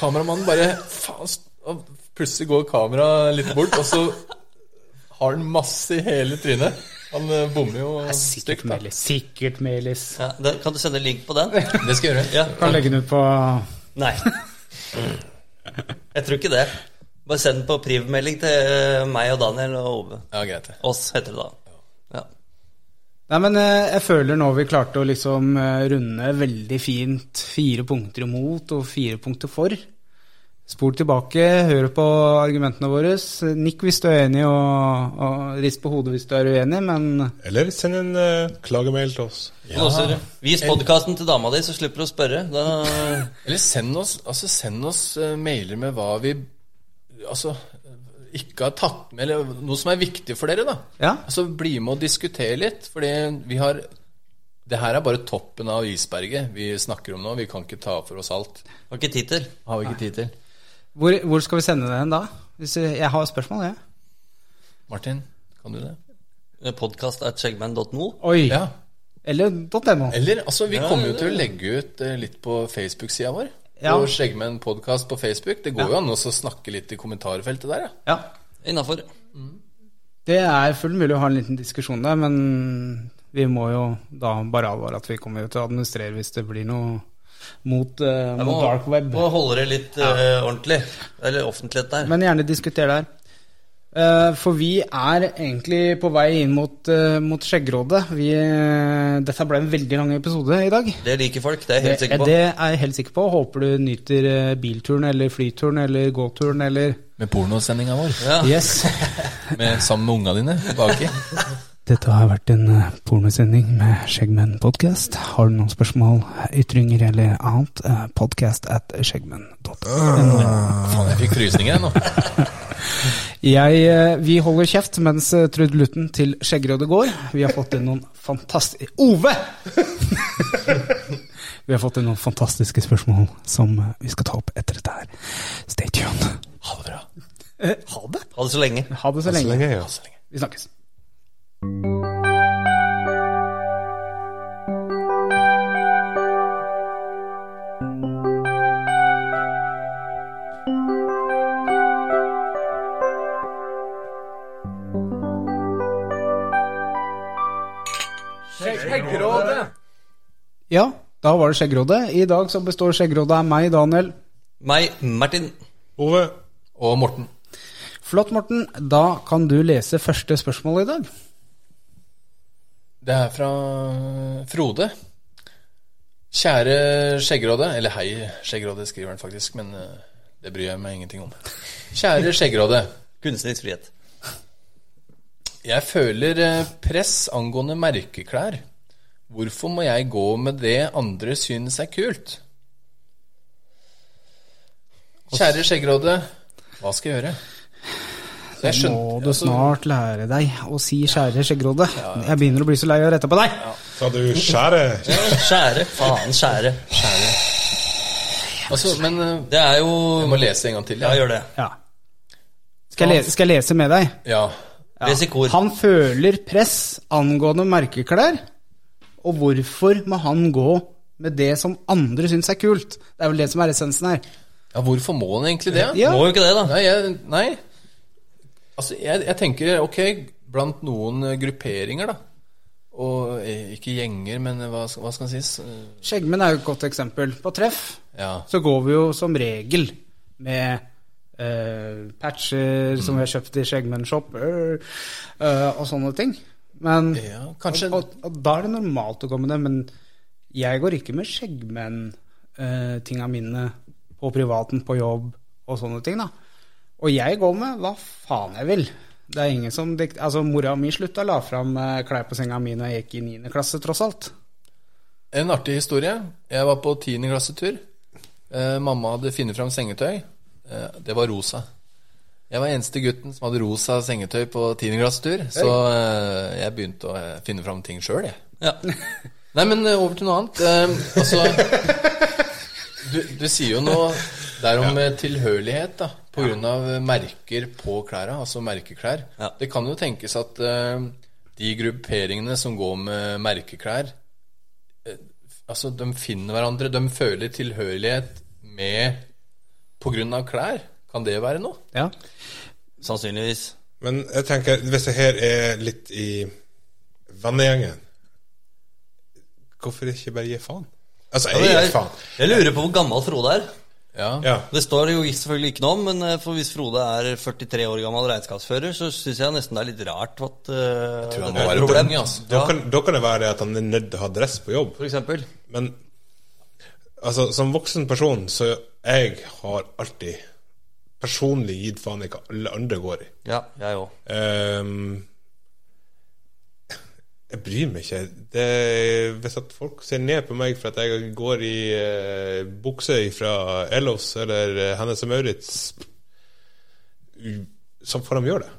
Speaker 3: Kameramannen bare faen, st- og Plutselig går kameraet litt bort, og så har han masse i hele trynet. Han eh, bommer jo
Speaker 1: Sikkert
Speaker 3: stygt. da.
Speaker 1: Melis. Sikkert Melis.
Speaker 2: Ja, den, kan du sende link på den?
Speaker 3: Det skal jeg gjøre.
Speaker 2: Ja.
Speaker 1: Kan legge den ut på
Speaker 2: Nei. Jeg tror ikke det. Bare send den på privmelding til eh, meg og Daniel og Ove.
Speaker 3: Ja, greit. det.
Speaker 2: Oss heter det da. Ja.
Speaker 1: Nei, men eh, jeg føler nå vi klarte å liksom eh, runde veldig fint fire punkter imot og fire punkter for. Spol tilbake, hør på argumentene våre. Nikk hvis du er enig, og, og rist på hodet hvis du er uenig, men
Speaker 4: Eller send en eh, klagemail til oss.
Speaker 2: Og også, Vis podkasten til dama di, så slipper du å spørre. Da,
Speaker 3: Eller send oss, altså send oss eh, mailer med hva vi altså, ikke har tatt med, eller noe som er viktig for dere. da.
Speaker 1: Ja.
Speaker 3: Altså, Bli med og diskutere litt, fordi vi har Det her er bare toppen av isberget vi snakker om nå. Vi kan ikke ta for oss alt.
Speaker 2: har ikke tid til.
Speaker 3: Har vi ikke tid til.
Speaker 1: hvor, hvor skal vi sende det hen da? Hvis jeg, jeg har spørsmål, jeg.
Speaker 3: Martin, kan du det?
Speaker 2: Podkast.skjeggmenn.no.
Speaker 1: Oi.
Speaker 3: Ja.
Speaker 1: Eller .no.
Speaker 3: Eller, altså, vi kommer jo til å legge ut eh, litt på Facebook-sida vår.
Speaker 1: Ja.
Speaker 3: Og skjegge med en podkast på Facebook. Det går jo an også å snakke litt i kommentarfeltet der, ja.
Speaker 1: Ja.
Speaker 2: Innafor.
Speaker 1: Det er fullt mulig å ha en liten diskusjon der, men vi må jo da bare alvare at vi kommer jo til å administrere hvis det blir noe mot, eh, mot dark web.
Speaker 2: Må holde det litt eh, ordentlig. Eller offentlighet der.
Speaker 1: Men gjerne diskuter der. Eh, For vi er egentlig på vei inn mot, eh, mot Skjeggrådet. Vi, eh, dette ble en veldig lang episode i dag.
Speaker 2: det liker folk, det er jeg helt
Speaker 1: Det,
Speaker 2: sikker på.
Speaker 1: det er jeg helt sikker på. Håper du nyter eh, bilturen eller flyturen eller gåturen eller
Speaker 3: Med pornosendinga vår.
Speaker 2: Ja. [LAUGHS]
Speaker 1: Yes.
Speaker 3: Med, sammen med unga dine baki.
Speaker 1: Dette har vært en eh, pornosending med Skjeggmenn podcast. Har du noen spørsmål, ytringer eller annet, eh, podcast at skjeggmenn.no.
Speaker 3: Faen, jeg fikk krysninger, jeg nå.
Speaker 1: Jeg, eh, vi holder kjeft mens eh, Trud Lutten til Skjeggrådet går. Vi har fått inn noen fantastiske Ove! [LAUGHS] vi har fått inn noen fantastiske spørsmål som eh, vi skal ta opp etter dette her. Stay tuned.
Speaker 3: Ha det bra.
Speaker 1: Eh, ha det.
Speaker 2: Ha det så lenge.
Speaker 1: Ha det så
Speaker 4: Så
Speaker 1: lenge.
Speaker 4: lenge, ja.
Speaker 1: Vi snakkes. Ja, da var det Skjeggrådet. I dag så består Skjeggrådet av meg, Daniel.
Speaker 2: Meg, Martin.
Speaker 4: Ove,
Speaker 3: Og Morten.
Speaker 1: Flott, Morten. Da kan du lese første spørsmål i dag.
Speaker 3: Det er fra Frode. Kjære Skjeggråde, eller hei Skjeggråde skriver han faktisk, men eh, det bryr jeg meg ingenting om. Kjære Skjeggråde.
Speaker 2: Kunstnerisk frihet.
Speaker 3: Jeg føler eh, press angående merkeklær. Hvorfor må jeg gå med det andre synes er kult? Kjære Skjeggråde, hva skal jeg gjøre? Så jeg
Speaker 1: Må du
Speaker 3: altså,
Speaker 1: snart lære deg å si 'kjære skjeggråde'. Jeg begynner å bli så lei av å rette på deg.
Speaker 4: sa du skjære?
Speaker 2: Skjære. Faen, skjære.
Speaker 3: altså, men eh,
Speaker 2: Det er jo
Speaker 3: jeg må lese en gang til.
Speaker 2: Ja,
Speaker 3: Ja.
Speaker 2: gjør det.
Speaker 1: Ja. Skal, jeg lese, skal jeg lese med deg?
Speaker 3: ja.
Speaker 2: Les i kor.
Speaker 1: Han føler press angående merkeklær, og hvorfor må han gå med det som andre syns er kult? Det er vel det som er essensen her.
Speaker 3: ja, hvorfor må han egentlig det?
Speaker 1: Ja.
Speaker 2: Må jo ikke det, da.
Speaker 3: Nei, jeg, nei. Altså, jeg, jeg tenker ok, blant noen eh, grupperinger, da. Og eh, ikke gjenger, men hva, skal- hva skal en si? Eh,
Speaker 1: Skjeggmenn er jo et godt eksempel. På treff
Speaker 3: Ja.
Speaker 1: så går vi jo som regel med eh, patcher som vi har kjøpt i Skjeggmenn Shop, øh, eh, og sånne ting. Men
Speaker 3: ja kanskje
Speaker 1: og, og, og da er det normalt å gå med det, men jeg går ikke med eh, Skjeggmenn-tinga mine på privaten, på jobb og sånne ting, da. Og jeg går med hva faen jeg vil. Det er ingen som dikt... Altså, mora mi slutta la fram eh, klær på senga mi når jeg gikk i 9. klasse, tross alt.
Speaker 3: En artig historie. Jeg var på 10. klassetur. Eh, mamma hadde funnet fram sengetøy. Eh, det var rosa. Jeg var eneste gutten som hadde rosa sengetøy på 10. klassetur, så eh, jeg begynte å eh, finne fram ting sjøl, jeg.
Speaker 2: Ja.
Speaker 3: [LAUGHS] Nei, men eh, over til noe annet. Eh, altså du, du sier jo noe der om eh, tilhørighet, da. På grunn av eh, merker på klærne, altså merkeklær.
Speaker 2: Ja.
Speaker 3: Det kan jo tenkes at eh, de grupperingene som går med merkeklær, eh, altså de finner hverandre. De føler tilhørighet med På grunn av klær. Kan det være noe?
Speaker 1: Ja.
Speaker 2: Sannsynligvis.
Speaker 4: Men jeg tenker, hvis det her er litt i vennegjengen Hvorfor ikke bare gi faen? Altså, jeg gir
Speaker 2: Jeg,
Speaker 4: faen.
Speaker 2: jeg lurer på hvor gammel Frode er.
Speaker 3: Ja.
Speaker 4: Ja.
Speaker 2: Det står det jo selvfølgelig ikke noe om, men eh, for hvis Frode er 43 år gammel regnskapsfører, så syns jeg nesten det er litt rart at uh, Jeg
Speaker 3: tror han må være problem, altså.
Speaker 4: Da, kan, da kan det være at han er nødt til å ha dress på jobb.
Speaker 2: For eksempel.
Speaker 4: Men altså, som voksen person, så jeg har alltid personlig gitt faen i hva alle andre går i.
Speaker 2: Ja, jeg òg.
Speaker 4: Ehm, jeg bryr meg ikke. Det, hvis at folk ser ned på meg for at jeg går i eh, bukse fra Ellos eller eh, Hennes og Maurits, så får de gjøre det.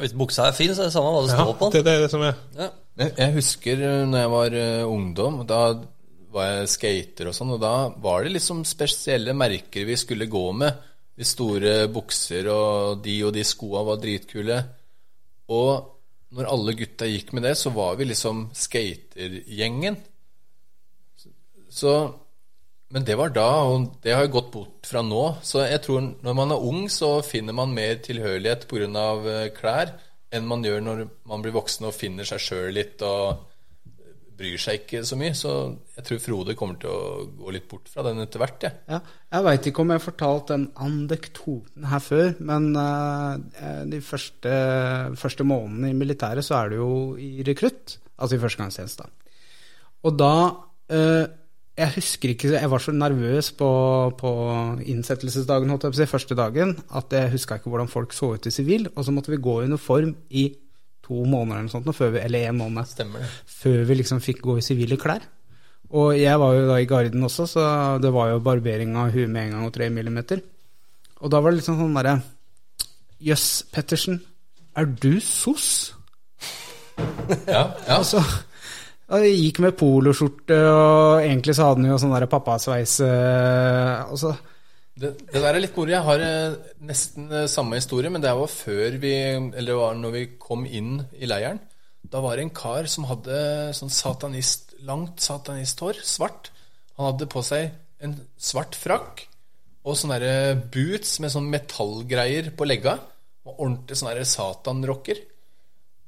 Speaker 2: Hvis buksa er fin, så er det samme hva det står på
Speaker 4: det,
Speaker 2: den.
Speaker 4: det er det som er.
Speaker 2: Ja.
Speaker 3: Jeg jeg husker eh, når jeg var eh, ungdom, da var jeg skater og sånn, og da var det liksom spesielle merker vi skulle gå med. De store bukser og de og de skoa var dritkule. Og når alle gutta gikk med det, så var vi liksom skatergjengen. Så Men det var da, og det har jeg gått bort fra nå. Så jeg tror når man er ung, så finner man mer tilhørighet pga. eh, klær enn man gjør når man blir voksen og finner seg sjøl litt og bryr seg ikke så mye. Så jeg tror Frode kommer til å gå litt bort fra den etter hvert, jeg.
Speaker 1: [LAUGHS] Ja, jeg veit ikke om jeg har fortalt den andektoten her før, men eh, de første, første månedene i militæret så er du jo i rekrutt, altså i førstegangstjeneste. Og da eh, Jeg husker ikke, jeg var så nervøs på, på innsettelsesdagen, holdt jeg på å si, første dagen, at jeg huska ikke hvordan folk så ut i sivil, og så måtte vi gå i uniform i to måneder eller noe sånt, nå, før vi, eller en måned
Speaker 3: Stemmer det?
Speaker 1: før vi liksom fikk gå i sivile klær. Og jeg var jo da i garden også, så det var jo barbering av huet med en gang og tre millimeter. Og da var det liksom sånn derre Jøss, Pettersen, er du sos?
Speaker 3: Ja, ja.
Speaker 1: Altså, og jeg gikk med poloskjorte, og egentlig så hadde han jo sånn derre pappasveis eh, altså,
Speaker 3: Det, det der er litt moro. Jeg har eh, nesten eh, samme historie, men det var før vi Eller det var når vi kom inn i leiren. Da var det en kar som hadde sånn satanist, langt satanisthår, svart. Han hadde på seg en svart frakk og sånne der eh, boots med sånn metallgreier på legga. Og ordentlig sånn der satanrocker.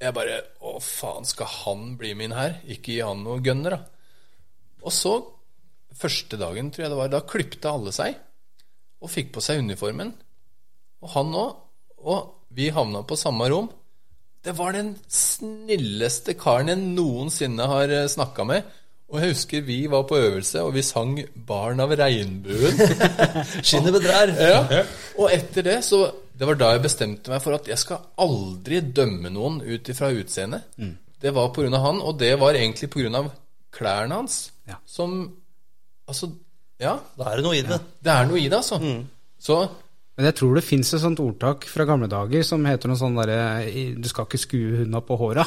Speaker 3: Jeg bare Å, faen, skal han bli min her? Ikke gi han noe gunner, da. Og så, første dagen, tror jeg det var, da klipte alle seg og fikk på seg uniformen. Og han òg. Og vi havna på samme rom. Det var den snilleste karen jeg noensinne har snakka med. Og jeg husker vi var på øvelse, og vi sang 'Barn av regnbuen'. [LAUGHS]
Speaker 2: Skinnet bedrær.
Speaker 3: ja. Og etter det så Det var da jeg bestemte meg for at jeg skal aldri dømme noen ut ifra utseendet. Det var pga. han, og det var egentlig pga. klærne hans.
Speaker 1: Ja.
Speaker 3: Som Altså, ja.
Speaker 2: Da er det noe i det.
Speaker 3: Det er noe i det, altså. Så
Speaker 1: Men jeg tror det fins et sånt ordtak fra gamle dager som heter noe sånn derre i- Du skal ikke skue hunda på håra.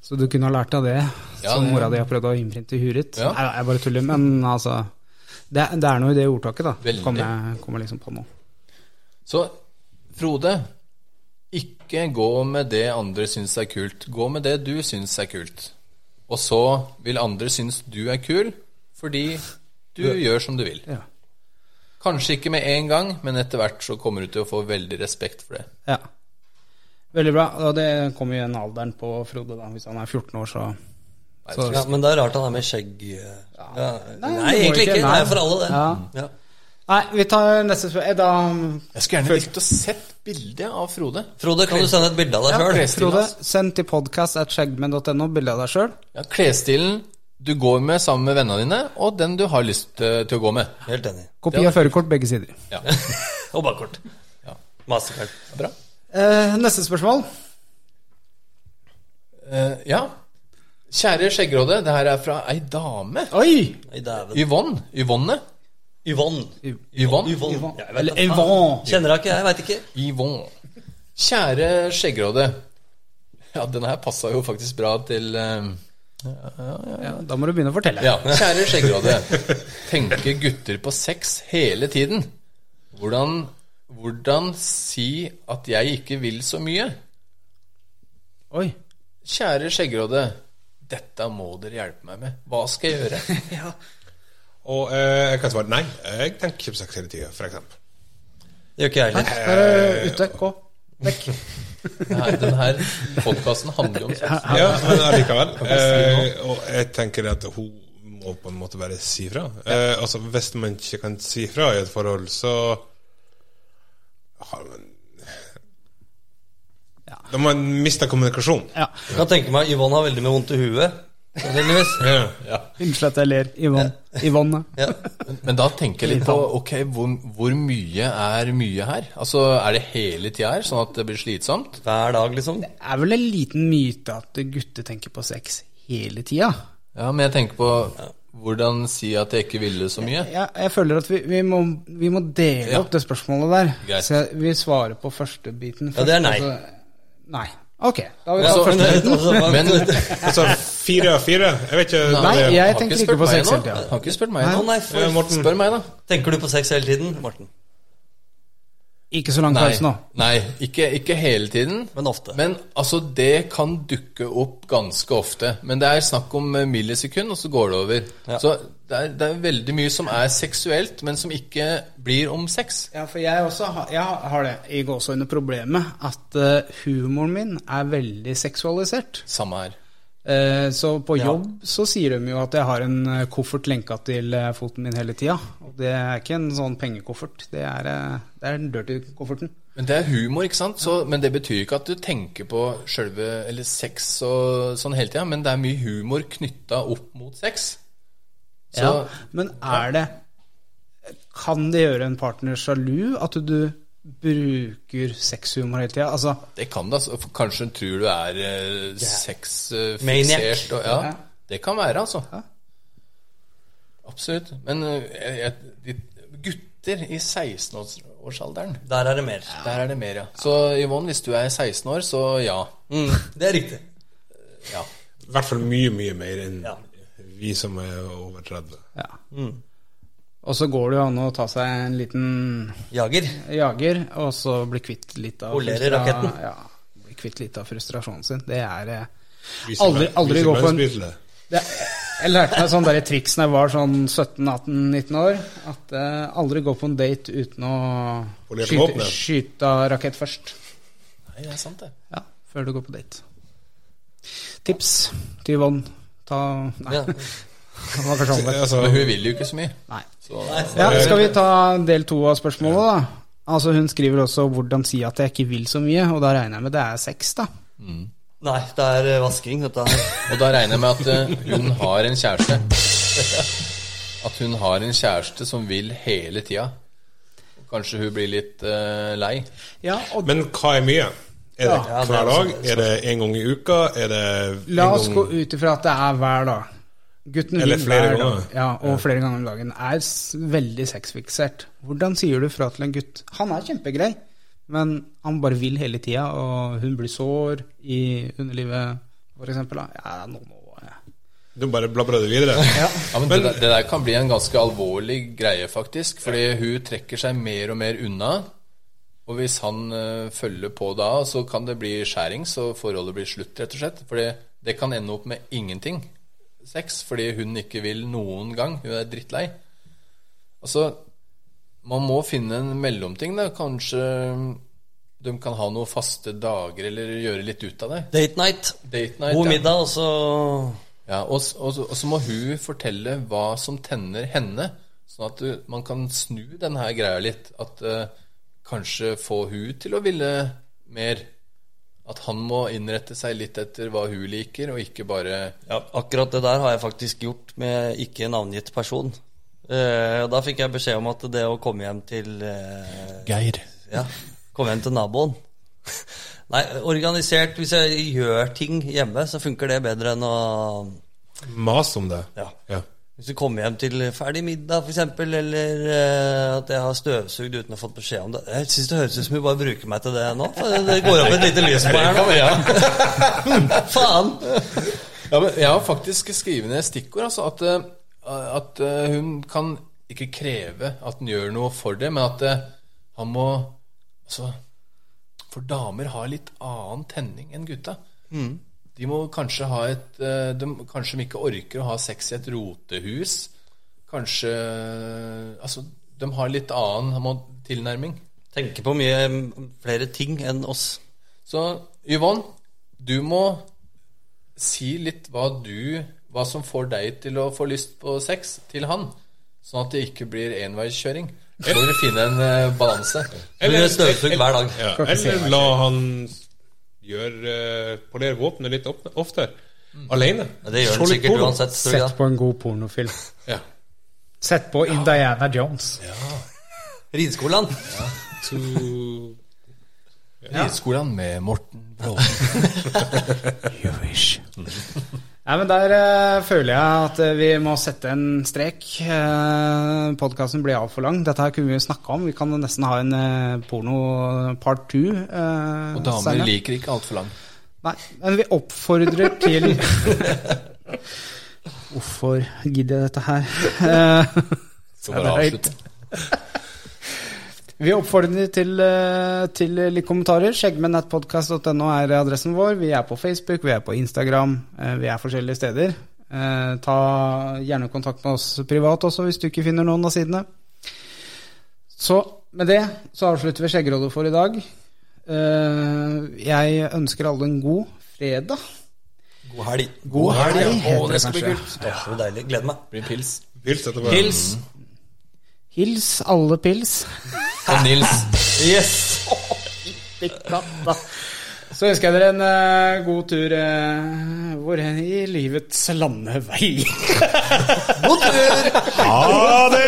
Speaker 1: Så du kunne ha lært av det,
Speaker 3: Mm. Ja,
Speaker 1: som
Speaker 3: det-
Speaker 1: mora di har prøvd å innprinte i huet ditt.
Speaker 3: Ja.
Speaker 1: Nei, jeg bare tuller, men altså Det, det er noe i det ordtaket, da.
Speaker 3: Veldig.
Speaker 1: Kommer jeg, kom jeg liksom på nå.
Speaker 3: Så Frode, ikke gå med det andre syns er kult. Gå med det du syns er kult. Og så vil andre synes du er kul, fordi du gjør som du vil.
Speaker 1: Ja.
Speaker 3: Kanskje ikke med en gang, men etter hvert så kommer du til å få veldig respekt for det.
Speaker 1: ja. Veldig bra. Og det kommer jo igjen alderen på Frode, da. Hvis han er 14 år, så Så-
Speaker 2: Ja, men det er rart han er med skjegg eh, ja. Nei,
Speaker 1: det må
Speaker 2: egentlig
Speaker 1: ikke,
Speaker 2: ikke. Det
Speaker 1: nei.
Speaker 2: er for alle, det.
Speaker 1: Ja.
Speaker 2: Ja.
Speaker 1: Nei, vi tar neste spørsmål. Eh, Da
Speaker 3: Jeg skulle gjerne likt å sett bildet av Frode.
Speaker 2: Frode, kan du sende et bilde av deg sjøl?
Speaker 3: Klesstilen
Speaker 1: Frode,
Speaker 3: hans.
Speaker 1: send til podcast at skjeggmenn.no bilde av deg sjøl.
Speaker 3: Ja, klesstilen du går med sammen med vennene dine, og den du har lyst eh, til å gå med.
Speaker 2: Helt enig.
Speaker 1: Kopi av førerkort begge sider.
Speaker 3: [LAUGHS] Ja,
Speaker 2: Og bakkort.
Speaker 3: Ja.
Speaker 2: Mastercard.
Speaker 3: bra.
Speaker 1: Eh, neste spørsmål.
Speaker 3: Eh, ja. Kjære Skjeggråde, det her er fra ei dame.
Speaker 1: Oi!
Speaker 2: Nei, dæven.
Speaker 3: Yvonne. Yvonne.
Speaker 2: Yvonne.
Speaker 3: Yvonne.
Speaker 2: Yvonne. Ja, jeg vet
Speaker 1: Eller
Speaker 2: da faen.
Speaker 1: Yvonne.
Speaker 2: Kjenner henne ikke, jeg veit ikke.
Speaker 3: Yvonne. Kjære Skjeggråde. Ja, den her passa jo faktisk bra til eh,
Speaker 1: Ja, da må du begynne å fortelle.
Speaker 3: Ja, kjære Skjeggråde. Tenker gutter på sex hele tiden? Hvordan, hvordan si at jeg ikke vil så mye?
Speaker 1: Oi.
Speaker 3: Kjære Skjeggråde. Dette må dere hjelpe meg med. Hva skal jeg gjøre?
Speaker 4: Og eh, jeg kan svare nei. Jeg tenker ikke på sex hele tida, f.eks.
Speaker 2: Det gjør ikke jeg heller.
Speaker 1: Der er du ute. Gå. Vekk.
Speaker 3: Nei, den her podkasten handler jo om sex.
Speaker 4: Ja, men allikevel. Eh, og jeg tenker at hun må på en måte bare si fra. Eh, altså, hvis man ikke kan si fra i et forhold, så har man Da har man mista kommunikasjon.
Speaker 1: Ja.
Speaker 2: Jeg kan tenke meg Yvonne har veldig mye vondt i huet. Sannsynligvis.
Speaker 4: Ja.
Speaker 1: Unnskyld at jeg ler. Yvonne. Yvonne.
Speaker 2: Ja.
Speaker 3: Men da tenker jeg litt på ok, hvor, hvor mye er mye her? Altså, Er det hele tida her, sånn at det blir slitsomt?
Speaker 2: Hver dag, liksom.
Speaker 1: Det er vel en liten myte at gutter tenker på sex hele tida.
Speaker 3: Ja, men jeg tenker på hvordan si at jeg ikke ville så mye.
Speaker 1: Jeg, jeg føler at vi, vi, må, vi må dele
Speaker 3: Ja.
Speaker 1: opp det spørsmålet der.
Speaker 3: Greit.
Speaker 1: Så jeg, vi svarer på første biten
Speaker 2: Ja, det er nei.
Speaker 1: altså- nei. Ok. Da har vi
Speaker 2: Ja,
Speaker 1: tatt
Speaker 2: så-
Speaker 1: første
Speaker 2: [LAUGHS]
Speaker 1: biten.
Speaker 2: altså,
Speaker 3: [LAUGHS] Men
Speaker 2: Å
Speaker 4: Altså fire av fire. Jeg vet ikke
Speaker 1: Nei,
Speaker 4: det-
Speaker 1: jeg
Speaker 3: har
Speaker 1: tenker
Speaker 3: spurt
Speaker 1: ikke på
Speaker 3: meg
Speaker 1: sex
Speaker 3: nå.
Speaker 1: hele tida.
Speaker 3: Har ikke spurt meg nå.
Speaker 2: nei,
Speaker 4: Eh,
Speaker 2: for
Speaker 4: Morten,
Speaker 3: Spør meg, da.
Speaker 2: Tenker du på sex hele tiden, Morten?
Speaker 1: Ikke så lang
Speaker 3: Nei,
Speaker 1: pause nå.
Speaker 3: nei ikke, ikke hele tiden.
Speaker 2: Men ofte.
Speaker 3: Men altså, det kan dukke opp ganske ofte. Men det er snakk om eh, millisekund, og så går det over.
Speaker 2: Ja.
Speaker 3: Så det er, det er veldig mye som er seksuelt, men som ikke blir om sex.
Speaker 1: Ja, for jeg også har, jeg har det i gåseøyne problemet at eh, humoren min er veldig seksualisert.
Speaker 3: Samme her.
Speaker 1: Eh, så på jobb så sier de jo at jeg har en eh, koffert lenka til eh, foten min hele tida. Og det er ikke en sånn pengekoffert. Det er, eh, det er den dirty kofferten.
Speaker 3: Men det er humor, ikke sant? Så, men det betyr ikke at du tenker på sjølve Eller sex og sånn hele tida, men det er mye humor knytta opp mot sex. Så
Speaker 1: ja. Men er det Kan det gjøre en partner sjalu at du bruker sexhumor hele tida? Altså,
Speaker 3: det kan det, altså. For Kanskje hun tror du er eh,
Speaker 2: Maniac.
Speaker 3: sexfiksert. og- Ja, det kan være, altså. Absolutt. Men eh, jeg, jeg, de, gutter i 16-årsalderen,
Speaker 2: Der er det mer.
Speaker 3: der er det mer, ja. Så Yvonne, hvis du er 16 år, så ja.
Speaker 2: Mm, det er riktig.
Speaker 3: ja.
Speaker 4: I hvert fall mye, mye mer enn
Speaker 2: Ja.
Speaker 4: vi som er over 30.
Speaker 1: ja. Og så går det jo an å ta seg en liten
Speaker 2: Jager.
Speaker 1: jager, og så bli kvitt litt av
Speaker 2: Polerer
Speaker 1: frustra-
Speaker 2: raketten.
Speaker 1: Ja, bli kvitt litt av frustrasjonen sin. Det er eh,
Speaker 4: Vi som
Speaker 1: Aldri-
Speaker 4: er-
Speaker 1: aldri
Speaker 4: vi som
Speaker 1: gå
Speaker 4: er
Speaker 1: for en-
Speaker 4: spirituelle.
Speaker 1: det, Jeg lærte meg sånn derre triks da jeg var sånn 17-18-19 år. At eh, aldri gå på en date uten å
Speaker 4: Polere
Speaker 1: skyte,
Speaker 4: våpenet.
Speaker 1: skyte av rakett først.
Speaker 3: Nei, det er sant, det.
Speaker 1: Ja, før du går på date. Tips til Yvonne. Ta Nei,
Speaker 2: Ja.
Speaker 1: det var kanskje omvendt.
Speaker 4: Altså,
Speaker 3: Men hun vil jo ikke så mye.
Speaker 1: Nei.
Speaker 3: Så
Speaker 1: Ja, skal vi ta del to av spørsmålet, da? Altså Hun skriver også 'hvordan si at jeg ikke vil så mye', og da regner jeg med det er sex, da.
Speaker 2: Nei, det er eh, vasking, dette her.
Speaker 3: Og da regner jeg med at eh, hun har en kjæreste. [LAUGHS] At hun har en kjæreste som vil hele tida. Kanskje hun blir litt eh, lei.
Speaker 1: Ja, og
Speaker 4: Men hva er mye? Er det
Speaker 2: Ja, det er
Speaker 4: hver dag?
Speaker 2: sant, det
Speaker 4: Er det en gang i uka? Er det
Speaker 1: La
Speaker 4: en
Speaker 1: oss
Speaker 4: gang
Speaker 1: gå ut ifra at det er hver dag. Gutten
Speaker 4: Eller
Speaker 1: vil
Speaker 4: flere
Speaker 1: hver
Speaker 4: ganger.
Speaker 1: Dag, ja, og flere ganger om dagen. Er s- veldig sexfiksert. Hvordan sier du fra til en gutt? Han er kjempegrei, men han bare vil hele tida, og hun blir sår i underlivet, for eksempel. Da. Ja, nå må jeg
Speaker 4: Du bare blabrer det videre?
Speaker 3: Ja, men det, der, det der kan bli en ganske alvorlig greie, faktisk. Fordi hun trekker seg mer og mer unna. Og hvis han eh, følger på da, så kan det bli skjæring, så forholdet blir slutt, rett og slett. Fordi det kan ende opp med ingenting sex, fordi hun ikke vil noen gang. Hun er drittlei. Altså, man må finne en mellomting, da. Kanskje eh, de kan ha noen faste dager, eller gjøre litt ut av det.
Speaker 2: Date night.
Speaker 3: Date night.
Speaker 2: God
Speaker 3: ja.
Speaker 2: middag, og så
Speaker 3: Ja, og, s- og, så- og så må hun fortelle hva som tenner henne, sånn at du, man kan snu den her greia litt. At eh, kanskje få hun til å ville mer. At han må innrette seg litt etter hva hun liker, og ikke bare
Speaker 2: Ja, akkurat det der har jeg faktisk gjort med ikke navngitt person. Eh, og da fikk jeg beskjed om at det å komme hjem til eh,
Speaker 3: Geir.
Speaker 2: Ja, komme hjem til naboen [LAUGHS] Nei, organisert Hvis jeg gjør ting hjemme, så funker det bedre enn å
Speaker 4: Mas om det.
Speaker 2: Ja.
Speaker 4: Ja.
Speaker 2: Hvis du kommer hjem til ferdig middag, f.eks., eller eh, at jeg har støvsugd uten å ha fått beskjed om det Jeg syns det høres ut som hun bare bruker meg til det nå. for Det går opp et lite lys på her nå.
Speaker 3: Ja.
Speaker 2: [LAUGHS] Faen!
Speaker 3: Ja, men jeg har faktisk skrevet ned stikkord. Altså at, eh, at eh, hun kan ikke kreve at han gjør noe for det, men at eh, han må altså, For damer har litt annen tenning enn gutta. De må kanskje ha et eh, de, Kanskje de ikke orker å ha sex i et rotehus. Kanskje Altså, de har litt annen må- tilnærming.
Speaker 2: Tenker på mye mm, flere ting enn oss.
Speaker 3: Så Yvonne, du må si litt hva du Hva som får deg til å få lyst på sex til han. Sånn at det ikke blir enveiskjøring. Så må du finne en eh, balanse.
Speaker 2: Du gjør støvsugd hver dag.
Speaker 4: Ja, eller la han gjøre eh, polere våpenet litt opp- oftere. Alene.
Speaker 2: Men Mm. det gjør
Speaker 4: Se
Speaker 2: den
Speaker 4: litt
Speaker 2: sikkert
Speaker 4: porno.
Speaker 2: uansett. tror jeg.
Speaker 1: Sett på en god pornofilm.
Speaker 4: Ja.
Speaker 1: Sett på Indiana Jones.
Speaker 2: Ridskolen.
Speaker 4: To-
Speaker 3: Rideskolen med Morten Bråten.
Speaker 1: Nei, men Der eh, føler jeg at eh, vi må sette en strek. Uh, Podkasten blir altfor lang. Dette her kunne vi jo snakka om. Vi kan nesten ha en eh, porno part two. eh,
Speaker 3: Og damer
Speaker 1: senere.
Speaker 3: liker ikke altfor lang.
Speaker 1: Nei, men vi oppfordrer til
Speaker 3: [LAUGHS]
Speaker 1: Hvorfor gidder jeg dette her? Eh,
Speaker 3: Så
Speaker 1: Ja,
Speaker 3: bare
Speaker 1: det er
Speaker 3: avslutt.
Speaker 1: Vi oppfordrer til, eh, til litt kommentarer. Skjeggmennnettpodkast.no er adressen vår. Vi er på Facebook, vi er på Instagram, eh, vi er forskjellige steder. Eh, Ta gjerne kontakt med oss privat også, hvis du ikke finner noen av sidene. Så med det så avslutter vi Skjeggrådet for i dag. Eh, Jeg ønsker alle en god fredag.
Speaker 2: God helg.
Speaker 1: God helg, heter
Speaker 3: Å, det skal bli
Speaker 1: kanskje.
Speaker 3: kult.
Speaker 2: Det er så deilig. Gleder meg.
Speaker 3: Det blir pils.
Speaker 4: Pils etter hverandre.
Speaker 3: Pils
Speaker 1: Hils alle pils.
Speaker 3: og Nils.
Speaker 2: Yes!
Speaker 1: Så ønsker jeg dere en eh, god tur eh, hvor hen i livets landevei.
Speaker 2: God tur!
Speaker 4: Ha det!